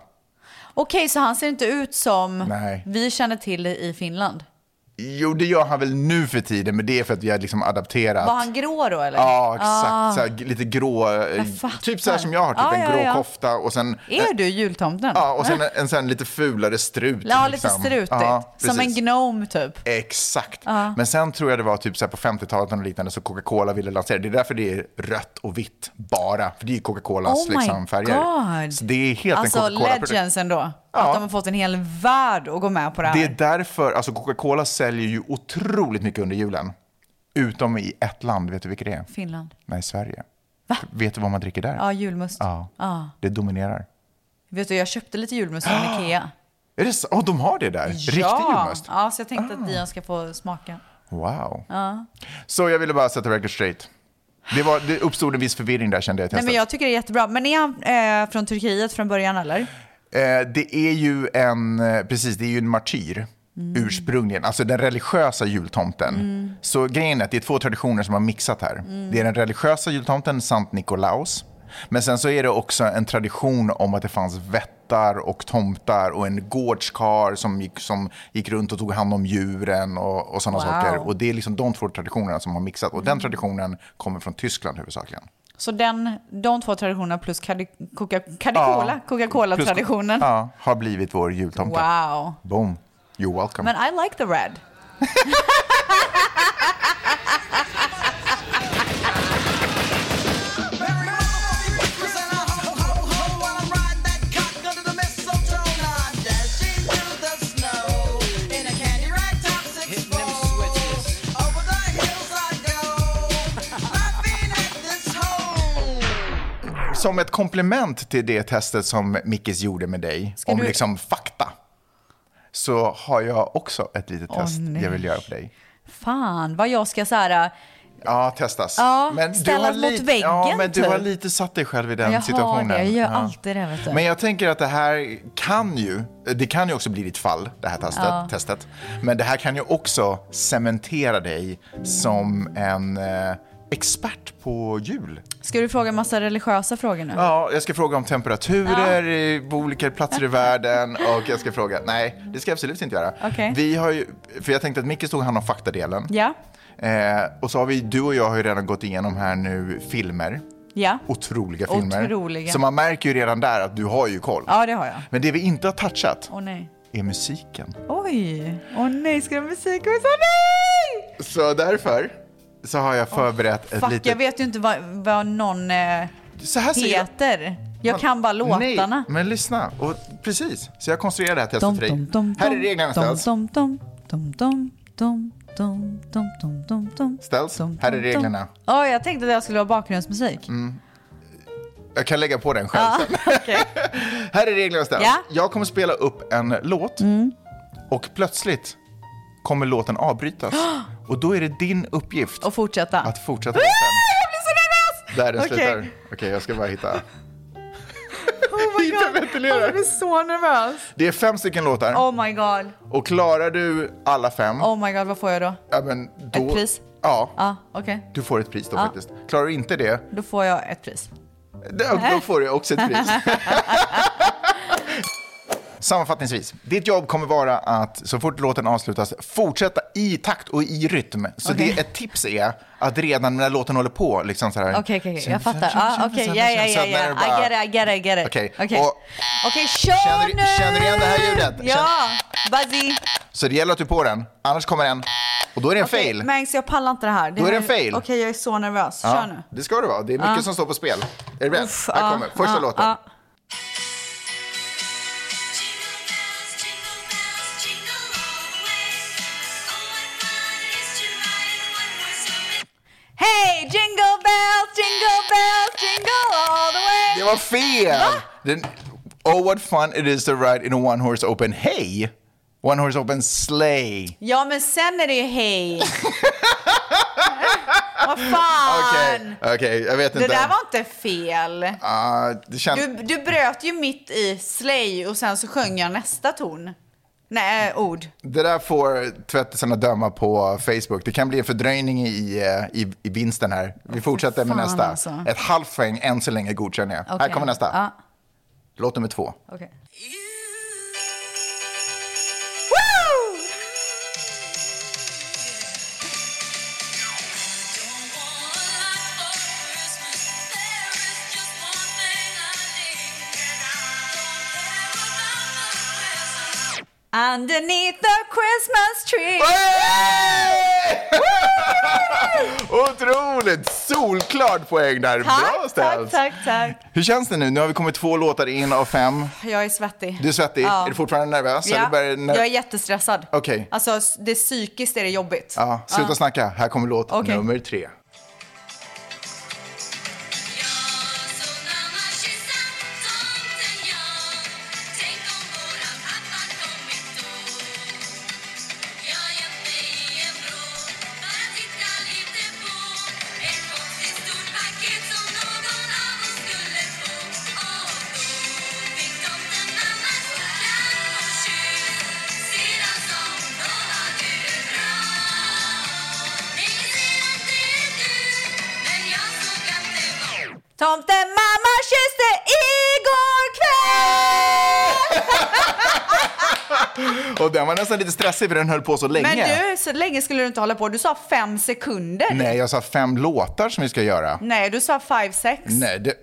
[SPEAKER 3] Okej, så han ser inte ut som
[SPEAKER 2] Nej.
[SPEAKER 3] vi känner till i Finland?
[SPEAKER 2] Jo, det gör han väl nu för tiden, men det är för att vi har liksom adapterat.
[SPEAKER 3] Var han grå då eller?
[SPEAKER 2] Ja, exakt.
[SPEAKER 3] Ah.
[SPEAKER 2] Så här, g- lite grå, eh,
[SPEAKER 3] Jag fattar.
[SPEAKER 2] typ så här som jag har, typ
[SPEAKER 3] Ja,
[SPEAKER 2] en
[SPEAKER 3] ja,
[SPEAKER 2] grå
[SPEAKER 3] ja.
[SPEAKER 2] kofta och sen... eh,
[SPEAKER 3] Är du jultomten?
[SPEAKER 2] Ja, och sen en, en sån lite fulare strut.
[SPEAKER 3] Ja, lite
[SPEAKER 2] liksom.
[SPEAKER 3] strutigt.
[SPEAKER 2] Ja,
[SPEAKER 3] som en
[SPEAKER 2] precis.
[SPEAKER 3] gnome typ.
[SPEAKER 2] Exakt.
[SPEAKER 3] Ja.
[SPEAKER 2] Men sen tror jag det var typ så här på 50-talet eller liknande så Coca-Cola ville lansera. Det är därför det är rött och vitt bara. För det är ju Coca-Colas
[SPEAKER 3] Oh my
[SPEAKER 2] liksom, färger.
[SPEAKER 3] God.
[SPEAKER 2] Så det är helt
[SPEAKER 3] Alltså
[SPEAKER 2] en Coca-Cola-produkt.
[SPEAKER 3] legends ändå. Att de har fått en hel värld att gå med på det här.
[SPEAKER 2] Det är därför, alltså Coca-Cola säljer ju otroligt mycket under julen. Utom i ett land, vet du vilket det är?
[SPEAKER 3] Finland.
[SPEAKER 2] Nej, Sverige. Vet du vad man dricker där?
[SPEAKER 3] Ja, julmust.
[SPEAKER 2] Ja.
[SPEAKER 3] Ja.
[SPEAKER 2] Det dominerar.
[SPEAKER 3] Vet du, jag köpte lite julmust från
[SPEAKER 2] <gasps>
[SPEAKER 3] Ikea.
[SPEAKER 2] Är det så? Åh, de har det där? Riktig
[SPEAKER 3] ja.
[SPEAKER 2] julmust? Ah.
[SPEAKER 3] Ja, så jag tänkte att Dion ska få smaka.
[SPEAKER 2] Wow.
[SPEAKER 3] Ja.
[SPEAKER 2] Så jag ville bara sätta record straight. Det, var, det uppstod en viss förvirring där kände jag i
[SPEAKER 3] Nej,
[SPEAKER 2] testet.
[SPEAKER 3] men jag tycker det är jättebra. Men är han eh, från Turkiet från början eller?
[SPEAKER 2] Eh, det är ju en, eh, precis, det är ju en martyr
[SPEAKER 3] Mm.
[SPEAKER 2] ursprungligen, alltså den religiösa jultomten.
[SPEAKER 3] Mm.
[SPEAKER 2] Så grejen är att det är två traditioner som har mixat här.
[SPEAKER 3] Mm.
[SPEAKER 2] Det är den religiösa jultomten, Sankt Nikolaus. Men sen så är det också en tradition om att det fanns vättar och tomtar och en gårdskar som gick, som gick runt och tog hand om djuren och, och sådana
[SPEAKER 3] Wow. Mm.
[SPEAKER 2] saker. Och det är liksom de två traditionerna som har mixat. Och den traditionen kommer från Tyskland huvudsakligen.
[SPEAKER 3] Så den, de två traditionerna plus Cadi- Coca- Coca-Cola,
[SPEAKER 2] Plus-
[SPEAKER 3] Coca-Cola-traditionen.
[SPEAKER 2] Ja, har blivit vår jultomte.
[SPEAKER 3] Wow.
[SPEAKER 2] Boom. You're welcome.
[SPEAKER 3] Men I like the red.
[SPEAKER 2] Som ett komplement till det testet som Mickis gjorde med dig om
[SPEAKER 3] du-
[SPEAKER 2] liksom fakta så har jag också ett litet
[SPEAKER 3] Åh,
[SPEAKER 2] test
[SPEAKER 3] nej.
[SPEAKER 2] jag vill göra på dig.
[SPEAKER 3] Fan, vad jag ska så här... eh,
[SPEAKER 2] Ja, testas.
[SPEAKER 3] Ja,
[SPEAKER 2] Men du
[SPEAKER 3] ställas
[SPEAKER 2] har
[SPEAKER 3] mot
[SPEAKER 2] lite-
[SPEAKER 3] väggen,
[SPEAKER 2] Ja, men du
[SPEAKER 3] typ.
[SPEAKER 2] har lite satt dig själv i den
[SPEAKER 3] Jag har
[SPEAKER 2] situationen.
[SPEAKER 3] det, jag gör
[SPEAKER 2] ja.
[SPEAKER 3] alltid det, vet du.
[SPEAKER 2] Men jag tänker att det här kan ju, det kan ju också bli ditt fall, det här testet.
[SPEAKER 3] Ja.
[SPEAKER 2] testet. Men det här kan ju också cementera dig som en eh, expert på jul.
[SPEAKER 3] Ska du fråga massa religiösa frågor nu?
[SPEAKER 2] Ja, jag ska fråga om temperaturer i- på olika platser i
[SPEAKER 3] <laughs>
[SPEAKER 2] världen och jag ska fråga, nej, det ska jag absolut inte göra.
[SPEAKER 3] Okej.
[SPEAKER 2] Vi har ju, för jag tänkte att Micke stod hand om faktadelen.
[SPEAKER 3] Ja,
[SPEAKER 2] Eh, och så har vi, du och jag har ju redan gått igenom här nu filmer.
[SPEAKER 3] ja.
[SPEAKER 2] Otroliga filmer.
[SPEAKER 3] Otroliga.
[SPEAKER 2] Så man märker ju redan där att du har ju koll.
[SPEAKER 3] Ja, det har jag.
[SPEAKER 2] Men det vi inte har touchat
[SPEAKER 3] Åh nej.
[SPEAKER 2] är musiken.
[SPEAKER 3] Oj. Åh nej, ska det vara musikquiz? Åh nej!
[SPEAKER 2] Så därför så har jag förberett ett
[SPEAKER 3] Fuck,
[SPEAKER 2] litet...
[SPEAKER 3] jag vet ju inte vad, vad någon eh,
[SPEAKER 2] Så här ser Alltså, jag-
[SPEAKER 3] heter. Jag, kan bara låtarna.
[SPEAKER 2] Nej, men lyssna. Och, precis, så jag konstruerar det här testet
[SPEAKER 3] Dom,
[SPEAKER 2] för dig.
[SPEAKER 3] dom, dom,
[SPEAKER 2] här är
[SPEAKER 3] dom,
[SPEAKER 2] reglerna
[SPEAKER 3] dom,
[SPEAKER 2] ställs.
[SPEAKER 3] dom, dom, dom, dom, dom, dom, dom, dom, dom, dom.
[SPEAKER 2] Ställs. här är reglerna. Mm.
[SPEAKER 3] Ja, jag tänkte att jag skulle ha bakgrundsmusik.
[SPEAKER 2] Jag kan lägga på den själv sen.
[SPEAKER 3] <laughs>
[SPEAKER 2] <laughs> Här är reglerna ställs.
[SPEAKER 3] Ja. Mm.
[SPEAKER 2] Jag kommer spela upp en låt och plötsligt kommer låten
[SPEAKER 3] <gasps>
[SPEAKER 2] avbrytas. Och då är det din uppgift
[SPEAKER 3] Och fortsätta.
[SPEAKER 2] att fortsätta
[SPEAKER 3] Ah,
[SPEAKER 2] låten.
[SPEAKER 3] <laughs> jag blir så nervös!
[SPEAKER 2] Där den
[SPEAKER 3] Okej.
[SPEAKER 2] slutar. Okej, jag ska bara hitta. <laughs>
[SPEAKER 3] Oh my god. Alltså, jag blir så nervös.
[SPEAKER 2] Det är fem stycken låtar.
[SPEAKER 3] Oh my god.
[SPEAKER 2] Och klarar du alla fem,
[SPEAKER 3] Oh my god, vad får jag då?
[SPEAKER 2] ja, men då...
[SPEAKER 3] Ett pris?
[SPEAKER 2] Ja,
[SPEAKER 3] Ja, okej.
[SPEAKER 2] du får ett pris då
[SPEAKER 3] Ja.
[SPEAKER 2] faktiskt. Klarar du inte det,
[SPEAKER 3] Då får jag ett pris.
[SPEAKER 2] då, då får du också ett pris. <laughs> Sammanfattningsvis, ditt jobb kommer vara att så fort låten avslutas fortsätta i takt och i rytm. Så
[SPEAKER 3] Okej.
[SPEAKER 2] det ett tips är att redan när låten håller på, liksom så här.
[SPEAKER 3] Okej, okej, okej. jag fattar. Ah, Okej, ja, ja, ja,
[SPEAKER 2] Sen är det
[SPEAKER 3] ja. I get it, I get it, I get it.
[SPEAKER 2] Okej,
[SPEAKER 3] okej.
[SPEAKER 2] och-
[SPEAKER 3] Okej, kör nu!
[SPEAKER 2] känner du igen det här ljudet?
[SPEAKER 3] Ja, Buzzy.
[SPEAKER 2] Så det gäller att du är på den, annars kommer den. Och då är det en
[SPEAKER 3] Okej,
[SPEAKER 2] fail.
[SPEAKER 3] Mangs, jag pallar inte det här.
[SPEAKER 2] Då är det
[SPEAKER 3] här-
[SPEAKER 2] en fail.
[SPEAKER 3] Okej, jag är så nervös. Kör nu.
[SPEAKER 2] Det ska det vara. Det är mycket
[SPEAKER 3] Ja.
[SPEAKER 2] som står på spel. Är du beredd?
[SPEAKER 3] Uff, ah.
[SPEAKER 2] Här
[SPEAKER 3] ja,
[SPEAKER 2] kommer första
[SPEAKER 3] ja,
[SPEAKER 2] låten.
[SPEAKER 3] ja. Hey, jingle bells, jingle bells, jingle all the way.
[SPEAKER 2] Det var fel! Den, oh what fun it is to ride in a one horse open hay. One horse open sleigh.
[SPEAKER 3] Ja, men sen är det ju hej. <laughs> Vad fan.
[SPEAKER 2] Okej, jag vet
[SPEAKER 3] Det
[SPEAKER 2] inte.
[SPEAKER 3] där var inte fel.
[SPEAKER 2] Ah, det känns...
[SPEAKER 3] Du, du bröt ju mitt i slay och sen så sjöng jag nästa ton. Nej, eh, ord.
[SPEAKER 2] Det där får tvättisarna döma på Facebook. Det kan bli en fördröjning i, eh, i, i vinsten här. Vi fortsätter med
[SPEAKER 3] fan
[SPEAKER 2] nästa.
[SPEAKER 3] alltså.
[SPEAKER 2] Ett halvt poäng än så länge godkänner jag. Här
[SPEAKER 3] Okej.
[SPEAKER 2] kommer nästa.
[SPEAKER 3] Ja.
[SPEAKER 2] Låt nummer två.
[SPEAKER 3] Okej. Underneath the Christmas tree.
[SPEAKER 2] <laughs> Otroligt! Solklart poäng där. Bra
[SPEAKER 3] Tack, tack,
[SPEAKER 2] ställs.
[SPEAKER 3] tack, tack.
[SPEAKER 2] Hur känns det nu? Nu har vi kommit två låtar in av fem.
[SPEAKER 3] Jag är svettig.
[SPEAKER 2] Du är svettig. Är du fortfarande nervös?
[SPEAKER 3] Ja.
[SPEAKER 2] Eller Alltså, börjar du ner-
[SPEAKER 3] Jag är jättestressad.
[SPEAKER 2] Okej.
[SPEAKER 3] Alltså, s- det psykiskt är det jobbigt.
[SPEAKER 2] Ja, sluta
[SPEAKER 3] Ja.
[SPEAKER 2] snacka. Här kommer låt
[SPEAKER 3] Okej.
[SPEAKER 2] nummer tre.
[SPEAKER 3] Tomten mamma kysste igår kväll!
[SPEAKER 2] Och den var nästan lite stressig för den höll på så länge.
[SPEAKER 3] Men du, så länge skulle du inte hålla på. Du sa fem sekunder.
[SPEAKER 2] Nej, jag sa fem låtar som vi ska göra.
[SPEAKER 3] Nej, du sa five, sex.
[SPEAKER 2] Nej, det...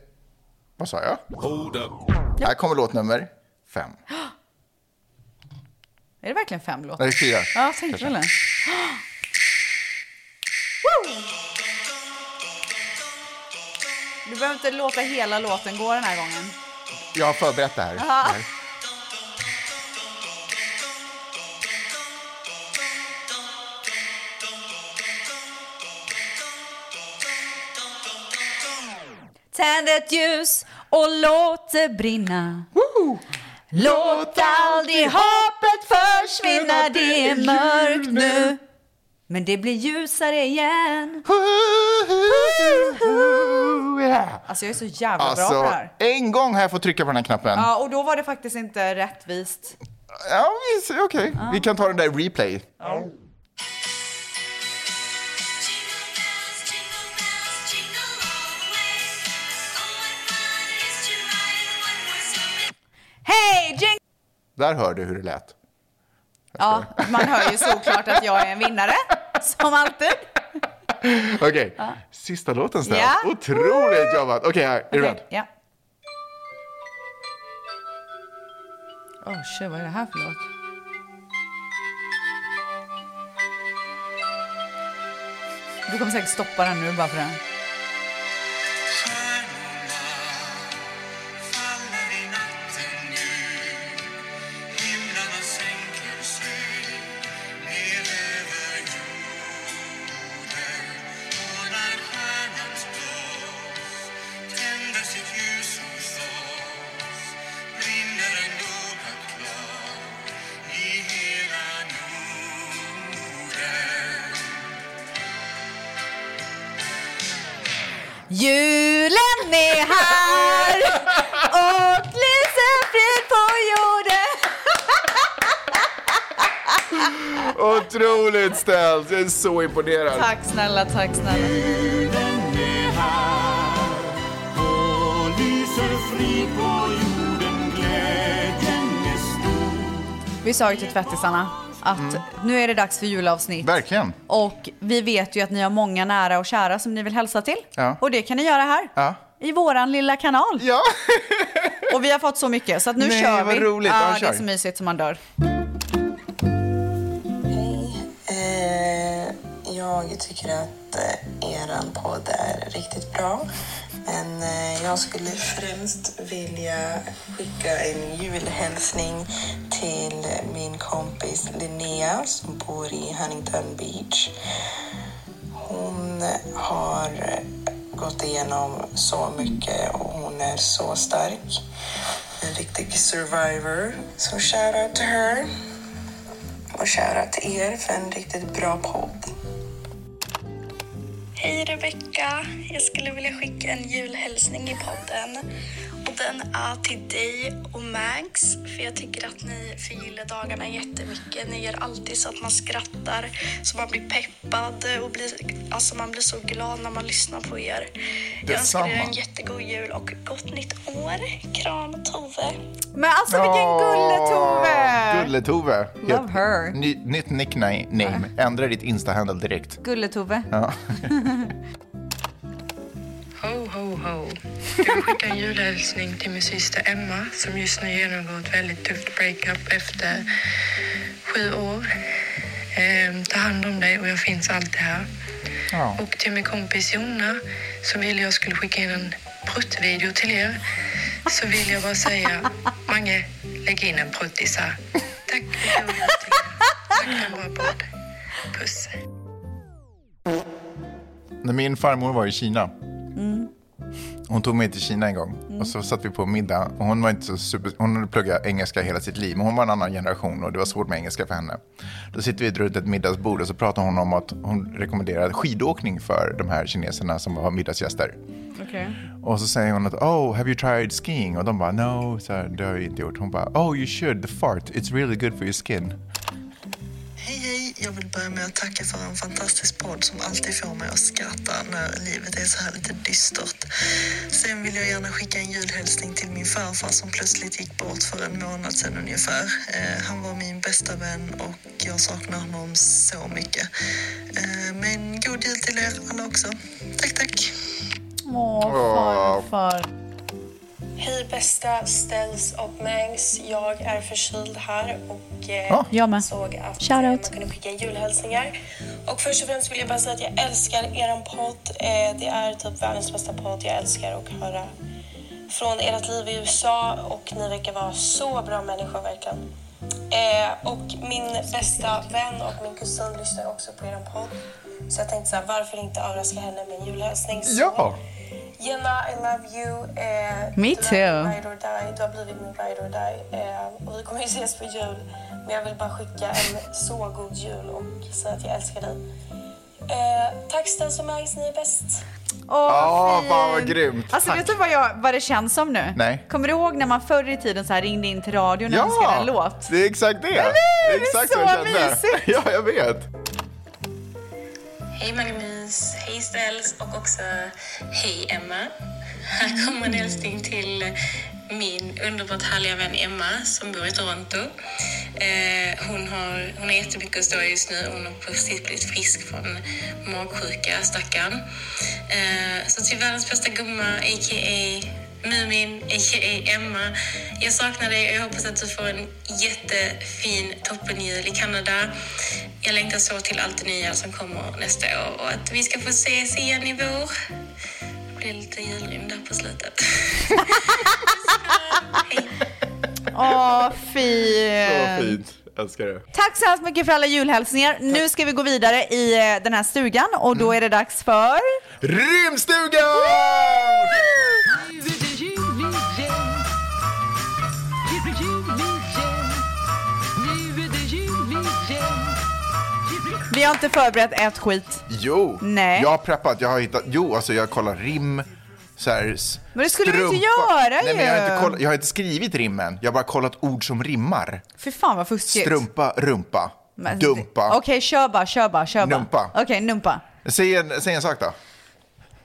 [SPEAKER 2] Vad sa jag? Här kommer låt nummer fem.
[SPEAKER 3] Är det verkligen fem låtar?
[SPEAKER 2] Nej, fyra.
[SPEAKER 3] Ja, jag tänkte väl det. <gasps> Woo! Du behöver inte låta hela låten gå den här gången.
[SPEAKER 2] Jag har förberett det här.
[SPEAKER 3] Ja.
[SPEAKER 2] Nej.
[SPEAKER 3] Tänd ett ljus och låt det brinna. Låt aldrig hoppet försvinna, det är mörkt nu. Men det blir ljusare igen. Alltså jag är så jävla bra på det
[SPEAKER 2] Alltså,
[SPEAKER 3] här.
[SPEAKER 2] en gång har jag fått trycka på den här knappen.
[SPEAKER 3] Ja, och då var det faktiskt inte rättvist.
[SPEAKER 2] Ja, visst, okej. Vi kan ta den där i replay.
[SPEAKER 18] Oh,
[SPEAKER 3] Hej, Jing!
[SPEAKER 2] Där hör du hur det lät.
[SPEAKER 3] Ja, man hör ju såklart att jag är en vinnare. Som alltid.
[SPEAKER 2] Okej, sista låten snart.
[SPEAKER 3] Ja.
[SPEAKER 2] Otroligt jobbat. Okej, här. Är du
[SPEAKER 3] Okej,
[SPEAKER 2] beredd?
[SPEAKER 3] Ja. Åh, shit, vad är det här för låt? Du kommer säkert stoppa den nu bara för den. Julen är
[SPEAKER 2] <laughs>
[SPEAKER 3] här och lyser frid på jorden.
[SPEAKER 2] Otroligt ställt. Jag är så imponerad.
[SPEAKER 3] Tack snälla, tack snälla. Vi sa ju till tvättisarna att nu är det dags för julavsnitt.
[SPEAKER 2] Mm. Verkligen.
[SPEAKER 3] Och vi vet ju att ni har många nära och kära som ni vill hälsa till.
[SPEAKER 2] Ja.
[SPEAKER 3] Och det kan ni göra här.
[SPEAKER 2] Ja.
[SPEAKER 3] I våran lilla kanal.
[SPEAKER 2] Ja.
[SPEAKER 3] och vi har fått så mycket så att nu
[SPEAKER 2] Nej,
[SPEAKER 3] kör
[SPEAKER 2] vad
[SPEAKER 3] vi.
[SPEAKER 2] roligt. Ja,
[SPEAKER 3] Ja, det
[SPEAKER 2] kör.
[SPEAKER 3] är så mysigt som man dör.
[SPEAKER 19] Eh, Jag tycker att eh, er podd är riktigt bra. Men eh, jag skulle främst vilja skicka en julhälsning till min kompis Linnea som bor i Huntington Beach. Hon har gått igenom så mycket och hon är så stark. En riktig survivor. Så shoutout to her. Och shoutout till er för en riktigt bra podd.
[SPEAKER 20] Hej Rebecka! Jag skulle vilja skicka en julhälsning i podden. Och den är till dig och Max, för jag tycker att ni förgyller dagarna jättemycket. Ni gör alltid så att man skrattar, så man blir peppad och blir, alltså man blir så glad när man lyssnar på er. Jag önskar er
[SPEAKER 2] Detsamma.
[SPEAKER 20] en jättegod jul och gott nytt år. Kram Tove!
[SPEAKER 3] Men alltså vilken gulletove!
[SPEAKER 2] Gulletove.
[SPEAKER 3] Love
[SPEAKER 2] Helt-
[SPEAKER 3] her.
[SPEAKER 2] Ny, nytt nickname. Ändra ditt Insta-handle direkt.
[SPEAKER 3] Gulletove.
[SPEAKER 2] Ja.
[SPEAKER 18] Ho, ho, ho. Jag vill skicka en julhälsning till min syster Emma som just nu genomgår ett väldigt tufft breakup efter sju år. Ehm, ta hand om dig och jag finns alltid här.
[SPEAKER 2] Ja.
[SPEAKER 18] Och till min kompis Jonna som ville jag skulle skicka in en pruttvideo till er så vill jag bara säga Mange, lägg in en pruttis här. Tack och god jul till er. Tack för en bra podd. Puss.
[SPEAKER 2] När min farmor var i Kina.
[SPEAKER 3] Mm.
[SPEAKER 2] Hon tog mig till Kina en gång
[SPEAKER 21] Mm.
[SPEAKER 2] och så satt vi på middag. Och hon, var inte så super, hon hade pluggat engelska hela sitt liv, men hon var en annan generation och det var svårt med engelska för henne. Då sitter vi runt ett middagsbord och så pratar hon om att hon rekommenderar skidåkning för de här kineserna som var middagsgäster.
[SPEAKER 3] Okej.
[SPEAKER 2] Och så säger hon att oh, have you tried skiing? Och de bara no, så här, det har jag inte gjort. Hon bara oh, you should, the fart, it's really good for your skin.
[SPEAKER 19] Hej, hej! Jag vill börja med att tacka för en fantastisk podd som alltid får mig att skratta när livet är så här lite dystert. Sen vill jag gärna skicka en julhälsning till min farfar som plötsligt gick bort för en månad sedan ungefär. Eh, han var min bästa vän och jag saknar honom så mycket. Eh, men god jul till er alla också. Tack, tack!
[SPEAKER 3] Åh,
[SPEAKER 2] Åh.
[SPEAKER 3] farfar.
[SPEAKER 18] Hej bästa Stens och Mangs. Jag är förkyld här och eh,
[SPEAKER 3] Ja. Jag med.
[SPEAKER 18] såg att
[SPEAKER 3] Shout
[SPEAKER 18] eh,
[SPEAKER 3] out.
[SPEAKER 18] man kunde skicka julhälsningar. Och först och främst vill jag bara säga att jag älskar er podd. Eh, det är typ världens bästa podd. Jag älskar att höra från ert liv i USA och ni verkar vara så bra människor verkligen. Eh, och min bästa vän och min kusin lyssnar också på er podd. Så jag tänkte så här, varför inte överraska henne med en julhälsning? Så
[SPEAKER 2] Ja!
[SPEAKER 18] Jenna, I love you. Eh,
[SPEAKER 3] Me
[SPEAKER 18] du
[SPEAKER 3] too.
[SPEAKER 18] Är min ride or die. Du har blivit min ride or die. Eh, och vi kommer ju ses på jul. Men jag vill bara skicka en så god jul och säga att jag älskar dig. Eh, tack Stens och Mags, ni är bäst.
[SPEAKER 3] Åh,
[SPEAKER 2] Ja,
[SPEAKER 3] fint.
[SPEAKER 2] fan vad grymt.
[SPEAKER 3] Alltså
[SPEAKER 2] Tack.
[SPEAKER 3] vet du vad, jag, vad det känns som nu?
[SPEAKER 2] Nej.
[SPEAKER 3] Kommer du ihåg när man förr i tiden så här ringde in till radion och önskade en låt?
[SPEAKER 2] det är exakt det.
[SPEAKER 3] Eller hur?
[SPEAKER 2] Det
[SPEAKER 3] Det
[SPEAKER 2] är
[SPEAKER 3] är
[SPEAKER 2] exakt så
[SPEAKER 3] så
[SPEAKER 2] jag kände.
[SPEAKER 3] mysigt.
[SPEAKER 2] Ja, jag vet.
[SPEAKER 18] Hej Magnus, hej Stels och också hej Emma. Här kommer en hälsning till min underbart härliga vän Emma som bor i Toronto. Eh, hon, har, hon har jättemycket att stå i just nu. Hon har precis blivit frisk från magsjuka, stackarn. Eh, så till världens bästa gumma, a.k.a. Mumin, a.k.a. Emma. Jag saknar dig och jag hoppas att du får en jättefin toppenjul i Kanada. Jag längtar så till allt det nya som kommer nästa år och att vi ska få ses igen i vår. Det blir lite julrim där på slutet.
[SPEAKER 3] Åh, fint.
[SPEAKER 2] Så fint. Älskar det.
[SPEAKER 3] Tack så hemskt mycket för alla julhälsningar. Nu ska vi gå vidare i eh, den här stugan och då
[SPEAKER 2] Mm.
[SPEAKER 3] är det dags för...
[SPEAKER 2] Rymdstugan!
[SPEAKER 3] Vi har inte förberett ett skit.
[SPEAKER 2] Jo,
[SPEAKER 3] Nej.
[SPEAKER 2] jag har preppat. Jag har hittat. Jo, alltså jag kollar rim. Så här, s-
[SPEAKER 3] Men det skulle du inte
[SPEAKER 2] strumpa.
[SPEAKER 3] göra
[SPEAKER 2] Nej, men jag, har
[SPEAKER 3] ju.
[SPEAKER 2] inte kollat, jag har inte skrivit rimmen. Jag har bara kollat ord som rimmar.
[SPEAKER 3] Fy fan vad fuskigt.
[SPEAKER 2] Strumpa, rumpa,
[SPEAKER 3] Men-
[SPEAKER 2] dumpa.
[SPEAKER 3] Okej, kör bara, kör bara, kör bara.
[SPEAKER 2] Numpa.
[SPEAKER 3] Okej, numpa.
[SPEAKER 2] Säg, en, säg en sak då.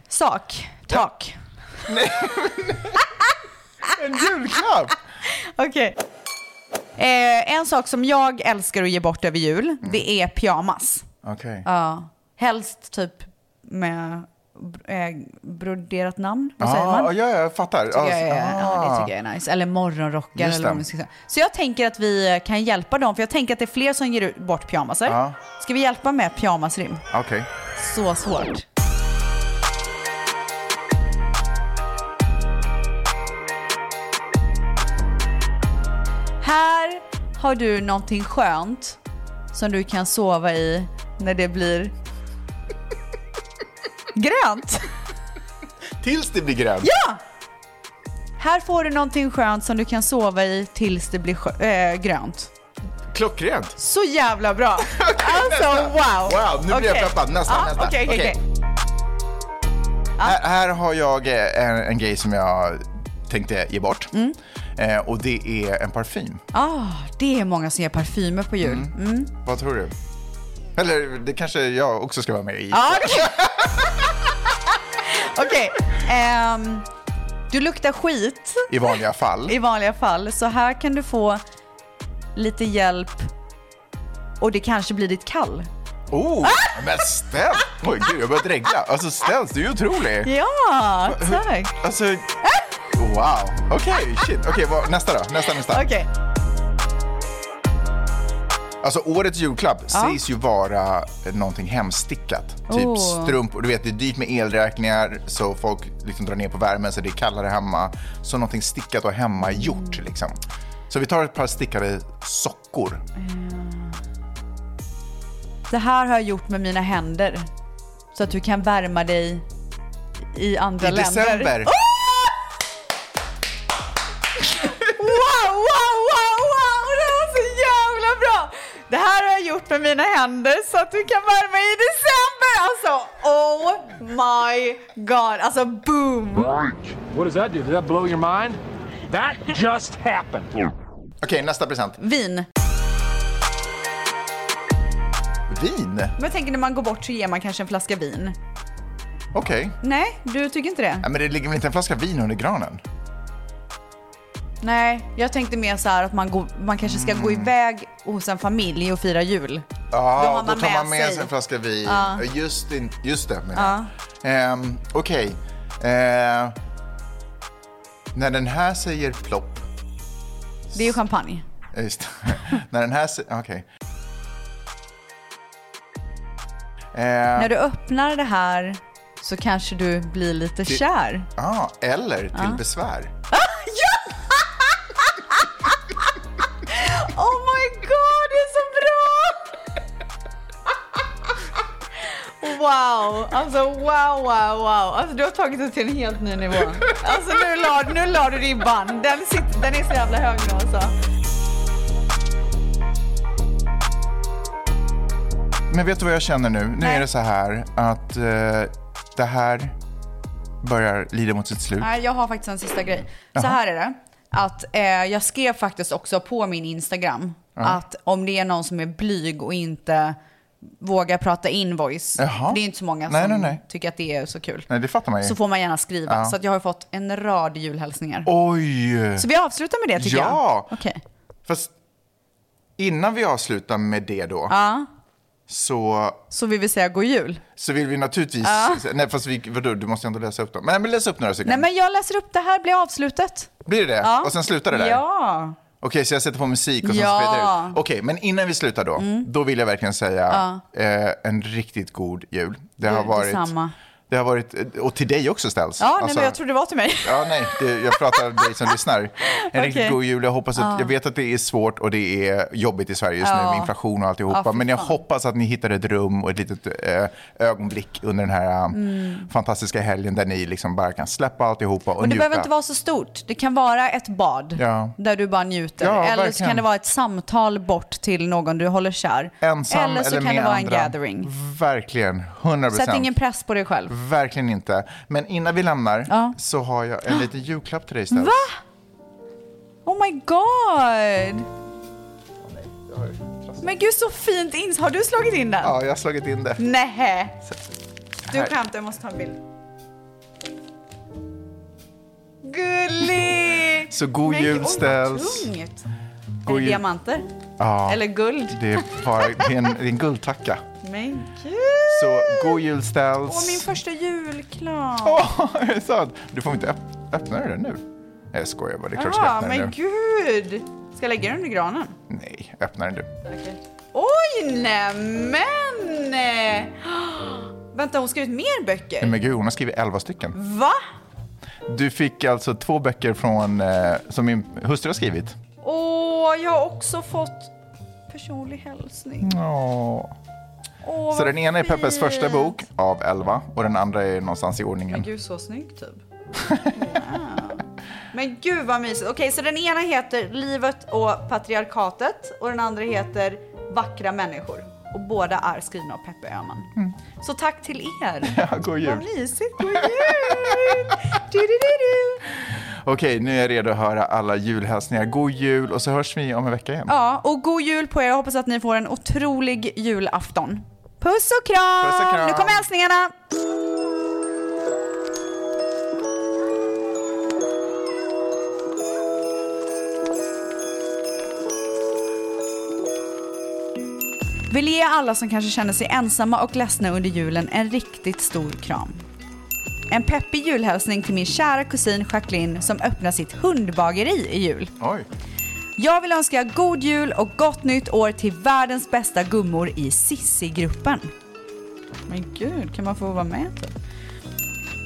[SPEAKER 3] Sak. Tak.
[SPEAKER 2] en julklapp!
[SPEAKER 3] Okej. Eh, en sak som jag älskar att ge bort
[SPEAKER 2] Mm.
[SPEAKER 3] över jul, det är pyjamas.
[SPEAKER 2] Okej.
[SPEAKER 3] Ja. Helst typ med eh, broderat namn. Vad säger man?
[SPEAKER 2] Ah, Ja, ja, jag fattar.
[SPEAKER 3] Tycker jag är, ja, det
[SPEAKER 2] Ah.
[SPEAKER 3] tycker jag är nice. Eller morgonrockar
[SPEAKER 2] Just
[SPEAKER 3] eller vad
[SPEAKER 2] det.
[SPEAKER 3] man ska säga. Så jag tänker att vi kan hjälpa dem, för jag tänker att det är fler som ger ut- bort pyjamasar.
[SPEAKER 2] Ja.
[SPEAKER 3] Ska vi hjälpa med pyjamasrim?
[SPEAKER 2] Okej.
[SPEAKER 3] Så svårt. Här har du någonting skönt som du kan sova i när det blir
[SPEAKER 2] <laughs>
[SPEAKER 3] grönt.
[SPEAKER 2] Tills det blir grönt.
[SPEAKER 3] Ja! Här får du någonting skönt som du kan sova i tills det blir skö- äh, grönt.
[SPEAKER 2] Klockrent.
[SPEAKER 3] Så
[SPEAKER 2] <laughs>
[SPEAKER 3] jävla bra! alltså wow!
[SPEAKER 2] Wow, nu blir jag
[SPEAKER 3] Okej.
[SPEAKER 2] peppad. Nästa,
[SPEAKER 3] Ja,
[SPEAKER 2] nästa.
[SPEAKER 3] okej, okej,
[SPEAKER 2] Okej.
[SPEAKER 3] okej. Ah.
[SPEAKER 2] Här, här har jag eh, en, en grej som jag tänkte ge bort. Eh, och det är en parfym.
[SPEAKER 3] Mm. Ah, det är många som ger parfymer på jul. Mm.
[SPEAKER 2] Vad tror du? Eller det kanske jag också ska vara med i.
[SPEAKER 3] Ja, okej. Okej. ehm, du luktar skit
[SPEAKER 2] I vanliga fall.
[SPEAKER 3] i vanliga fall, så här kan du få lite hjälp och det kanske blir ditt kall.
[SPEAKER 2] Oh,
[SPEAKER 3] Ah.
[SPEAKER 2] men Stens! Oj, gud, jag börjar dregla. Alltså Stens, du är ju otrolig.
[SPEAKER 3] Ja, tack.
[SPEAKER 2] Alltså, wow. Okej, shit. Okej, vad- nästa då. Nästa, nästa.
[SPEAKER 3] Okej.
[SPEAKER 2] Alltså årets julklapp
[SPEAKER 3] Ja.
[SPEAKER 2] sägs ju vara eh, någonting hemstickat. Typ
[SPEAKER 3] Oh.
[SPEAKER 2] strumpor. Du vet, det är dyrt med elräkningar så folk liksom drar ner på värmen så det är kallare hemma. Så någonting stickat och hemmagjort
[SPEAKER 3] Mm.
[SPEAKER 2] liksom. Så vi tar ett par stickade sockor.
[SPEAKER 3] Det här har jag gjort med mina händer. Så att du kan värma dig i andra
[SPEAKER 2] I
[SPEAKER 3] länder.
[SPEAKER 2] december.
[SPEAKER 3] Ah! <laughs> Wow, wow, wow, wow! Det här var så jävla bra! Det här har jag gjort med mina händer så att du kan värma i december! Alltså, oh my god! Alltså, boom!
[SPEAKER 1] What does that do? Does that blow your mind? That just happened.
[SPEAKER 2] Okej, nästa present.
[SPEAKER 3] Vin.
[SPEAKER 2] Vin?
[SPEAKER 3] Men jag tänker när man går bort så ger man kanske en flaska vin.
[SPEAKER 2] Okej.
[SPEAKER 3] Nej, du tycker inte det?
[SPEAKER 2] Nej, men det ligger väl inte en flaska vin under granen?
[SPEAKER 3] Nej, jag tänkte mer så här att man, går, man kanske ska gå iväg hos en familj och fira jul.
[SPEAKER 2] Ja,
[SPEAKER 3] Då
[SPEAKER 2] då,
[SPEAKER 3] har man
[SPEAKER 2] tar
[SPEAKER 3] med
[SPEAKER 2] man med sig
[SPEAKER 3] sig.
[SPEAKER 2] en flaska vin.
[SPEAKER 3] Ja.
[SPEAKER 2] Just, in, just det, menar
[SPEAKER 3] Ja.
[SPEAKER 2] jag. Ehm, Okej. Ehm, när den här säger plopp.
[SPEAKER 3] Det är ju champagne.
[SPEAKER 2] Ja, Just. det. <laughs> när den här säger... Okej. Ehm,
[SPEAKER 3] När du öppnar det här så kanske du blir lite
[SPEAKER 2] till-
[SPEAKER 3] kär.
[SPEAKER 2] Ja, eller till
[SPEAKER 3] Ja.
[SPEAKER 2] besvär.
[SPEAKER 3] Oh my god, det är så bra! Wow, alltså wow, wow, wow. Alltså du har tagit det till en helt ny nivå. Alltså nu la, nu la du ribban. Den, sitter, den är så jävla hög nu alltså.
[SPEAKER 2] Men vet du vad jag känner nu? Nu
[SPEAKER 3] Nej.
[SPEAKER 2] är det så här att eh, det här börjar lida mot sitt slut.
[SPEAKER 3] Nej, jag har faktiskt en sista grej. Så
[SPEAKER 2] Jaha.
[SPEAKER 3] här är det. Att eh, jag skrev faktiskt också på min Instagram
[SPEAKER 2] Ja.
[SPEAKER 3] att om det är någon som är blyg och inte vågar prata invoice,
[SPEAKER 2] Jaha.
[SPEAKER 3] det är inte så många
[SPEAKER 2] Nej,
[SPEAKER 3] som
[SPEAKER 2] nej, nej.
[SPEAKER 3] tycker att det är så kul,
[SPEAKER 2] Nej, det fattar man ju.
[SPEAKER 3] så får man gärna skriva.
[SPEAKER 2] Ja.
[SPEAKER 3] Så att jag har fått en rad julhälsningar.
[SPEAKER 2] Oj!
[SPEAKER 3] Så vi avslutar med det tycker jag.
[SPEAKER 2] Ja!
[SPEAKER 3] Okej.
[SPEAKER 2] Fast innan vi avslutar med det då,
[SPEAKER 3] Ja,
[SPEAKER 2] så,
[SPEAKER 3] så vill vi säga god jul.
[SPEAKER 2] så vill vi naturligtvis...
[SPEAKER 3] Ja.
[SPEAKER 2] Nej, fast vi, vadå, du måste ändå läsa upp dem. Nej, men läs upp några
[SPEAKER 3] Nej
[SPEAKER 2] stycken.
[SPEAKER 3] men jag läser upp det här, blir avslutet.
[SPEAKER 2] Blir det det?
[SPEAKER 3] Ja.
[SPEAKER 2] Och sen slutar det där?
[SPEAKER 3] Ja.
[SPEAKER 2] Okej, så jag sätter på musik och sen
[SPEAKER 3] Ja. Mm.
[SPEAKER 2] ja. sprider ut. Okej, men innan vi slutar då, då vill jag verkligen säga eh, en riktigt god jul. Det har
[SPEAKER 3] Du,
[SPEAKER 2] varit...
[SPEAKER 3] detsamma.
[SPEAKER 2] Det har varit, och till dig också ställs. Alltså-
[SPEAKER 3] Ja, nej, men jag trodde det var till mig.
[SPEAKER 2] Ja, nej, det, jag pratar om dig som lyssnar. En
[SPEAKER 3] Okej.
[SPEAKER 2] riktigt god jul. Jag, hoppas att,
[SPEAKER 3] Ja.
[SPEAKER 2] jag vet att det är svårt och det är jobbigt i Sverige just nu
[SPEAKER 3] Ja.
[SPEAKER 2] med inflation och alltihopa.
[SPEAKER 3] Ja, fy
[SPEAKER 2] men jag
[SPEAKER 3] fan.
[SPEAKER 2] hoppas att ni hittar ett rum och ett litet eh, ögonblick under den här
[SPEAKER 3] Mm.
[SPEAKER 2] fantastiska helgen där ni liksom bara kan släppa alltihopa och,
[SPEAKER 3] Och det
[SPEAKER 2] njuta.
[SPEAKER 3] behöver inte vara så stort. Det kan vara ett bad
[SPEAKER 2] Ja.
[SPEAKER 3] där du bara njuter.
[SPEAKER 2] Ja,
[SPEAKER 3] eller så
[SPEAKER 2] verkligen.
[SPEAKER 3] kan det vara ett samtal bort till någon du håller kär.
[SPEAKER 2] Ensam
[SPEAKER 3] eller så
[SPEAKER 2] eller
[SPEAKER 3] kan
[SPEAKER 2] med
[SPEAKER 3] det vara
[SPEAKER 2] andra.
[SPEAKER 3] en gathering.
[SPEAKER 2] Verkligen, 100
[SPEAKER 3] Sätt ingen press på dig själv.
[SPEAKER 2] Verkligen inte. Men innan vi lämnar så har jag en liten julklapp till dig Stels.
[SPEAKER 3] Ah. Va? Oh my god! Men gud så fint ins. Har du slagit in den?
[SPEAKER 2] Ja, jag har slagit in det.
[SPEAKER 3] Nähä! Du
[SPEAKER 2] Här.
[SPEAKER 3] skämtar, jag måste ta en bild. Gullig!
[SPEAKER 2] Så god
[SPEAKER 3] Men-
[SPEAKER 2] jul,
[SPEAKER 3] oj, vad
[SPEAKER 2] Stels.
[SPEAKER 3] tungt. Är
[SPEAKER 2] God
[SPEAKER 3] det
[SPEAKER 2] jul.
[SPEAKER 3] diamanter?
[SPEAKER 2] Ja,
[SPEAKER 3] Eller guld?
[SPEAKER 2] det är, bara, det är, en, det är en guldtacka.
[SPEAKER 3] Men gud!
[SPEAKER 2] Så god jul
[SPEAKER 3] Åh, min
[SPEAKER 2] Ställs.
[SPEAKER 3] första julklapp!
[SPEAKER 2] Är det sant? Du får inte öpp- öppna det där nu. Nej, Jag skojar bara, det är klart du ska
[SPEAKER 3] ah,
[SPEAKER 2] öppna den
[SPEAKER 3] men
[SPEAKER 2] nu.
[SPEAKER 3] gud! Ska jag lägga den under granen?
[SPEAKER 2] Nej, öppna den nu.
[SPEAKER 3] Oj, nämen! Ah, Vänta, hon har skrivit mer böcker?
[SPEAKER 2] Nej, Men gud, hon har skrivit elva stycken.
[SPEAKER 3] Va?
[SPEAKER 2] Du fick alltså två böcker från, eh, som min hustru har skrivit.
[SPEAKER 3] Åh, jag har också fått personlig hälsning.
[SPEAKER 2] Åh.
[SPEAKER 3] Åh,
[SPEAKER 2] Så
[SPEAKER 3] vad
[SPEAKER 2] den ena är Peppes
[SPEAKER 3] fint.
[SPEAKER 2] första bok av elva och den andra är någonstans i
[SPEAKER 3] Men
[SPEAKER 2] ordningen.
[SPEAKER 3] gud, så snygg typ. Wow. Men gud vad mysigt. Okej, så den ena heter Livet och patriarkatet och den andra heter Vackra människor. Och båda är skrivna av Peppe Öhman. Så tack till er.
[SPEAKER 2] Ja, god jul.
[SPEAKER 3] Vad mysigt. God jul. Du, du, du, du.
[SPEAKER 2] Okej, nu är jag redo att höra alla julhälsningar. God jul och så hörs vi om en vecka igen.
[SPEAKER 3] Ja, och god jul på er. Jag hoppas att ni får en otrolig julafton. Puss och kram!
[SPEAKER 2] Puss och kram.
[SPEAKER 3] Nu kommer hälsningarna. Vill ge alla som kanske känner sig ensamma och ledsna under julen en riktigt stor kram. En peppig julhälsning till min kära kusin Jacqueline som öppnar sitt hundbageri i jul.
[SPEAKER 2] Oj.
[SPEAKER 3] Jag vill önska god jul och gott nytt år till världens bästa gummor i Sissi-gruppen. Men gud, kan man få vara med typ?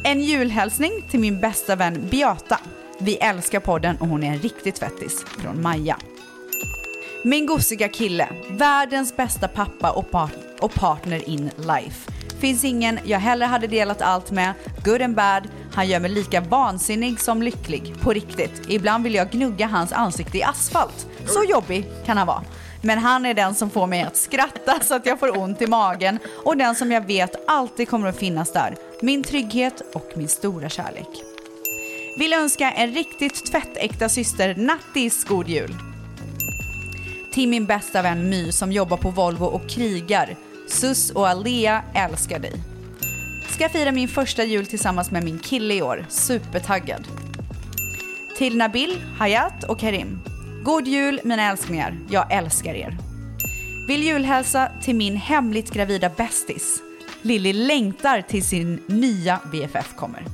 [SPEAKER 3] En julhälsning till min bästa vän Beata. Vi älskar podden och hon är en riktig tvättis. Från Maja. Min gosiga kille, världens bästa pappa och, par- och partner in life. Finns ingen jag hellre hade delat allt med, good and bad. Han gör mig lika vansinnig som lycklig, på riktigt. Ibland vill jag gnugga hans ansikte i asfalt. Så jobbig kan han vara. Men han är den som får mig att skratta så att jag får ont i magen och den som jag vet alltid kommer att finnas där. Min trygghet och min stora kärlek. Vill önska en riktigt tvättäkta syster Nattis god jul till min bästa vän My som jobbar på Volvo och krigar. Sus och Alea älskar dig. Ska fira min första jul tillsammans med min kille i år. Supertaggad. Till Nabil, Hayat och Karim. God jul mina älsklingar. Jag älskar er. Vill julhälsa till min hemligt gravida bästis. Lilly längtar till sin nya BFF kommer.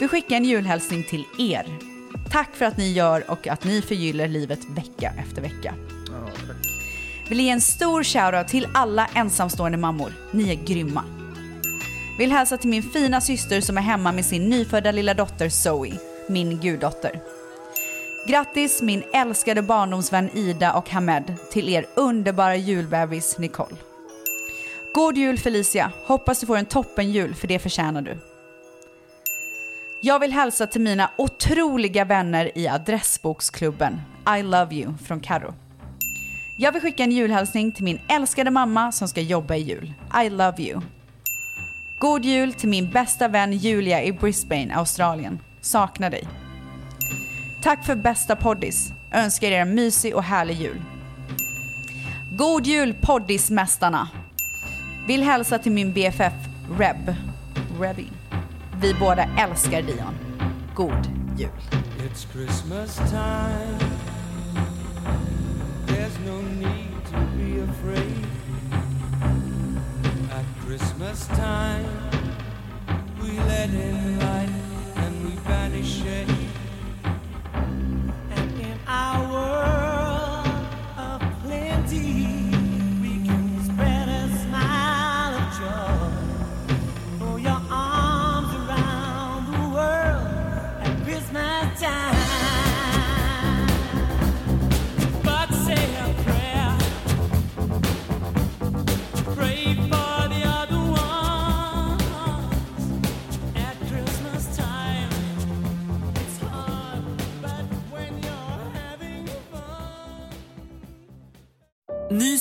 [SPEAKER 3] Vi skickar en julhälsning till er. Tack för att ni gör och att ni förgyller livet vecka efter vecka. Vill ge en stor shoutout till alla ensamstående mammor. Ni är grymma. Vill hälsa till min fina syster som är hemma med sin nyfödda lilla dotter Zoe, min guddotter. Grattis min älskade barndomsvän Ida och Hamed till er underbara julbebis Nicole. God jul Felicia, hoppas du får en toppen jul för det förtjänar du. Jag vill hälsa till mina otroliga vänner i Adressboksklubben. I love you från Karo. Jag vill skicka en julhälsning till min älskade mamma som ska jobba i jul. I love you. God jul till min bästa vän Julia i Brisbane, Australien. Saknar dig. Tack för bästa poddis. Önskar er en mysig och härlig jul. God jul poddismästarna. Vill hälsa till min BFF Reb. Rebby. Vi båda älskar Dion. God jul.
[SPEAKER 8] It's Christmas time. There's no need to be afraid. At Christmas time, we let in light and we banish shade. And in our world of plenty, we can spread a smile of joy. Throw your arms around the world at Christmas time. But say a prayer. Pray for the other ones at Christmas time. It's hard, but when you're having fun.
[SPEAKER 5] Ny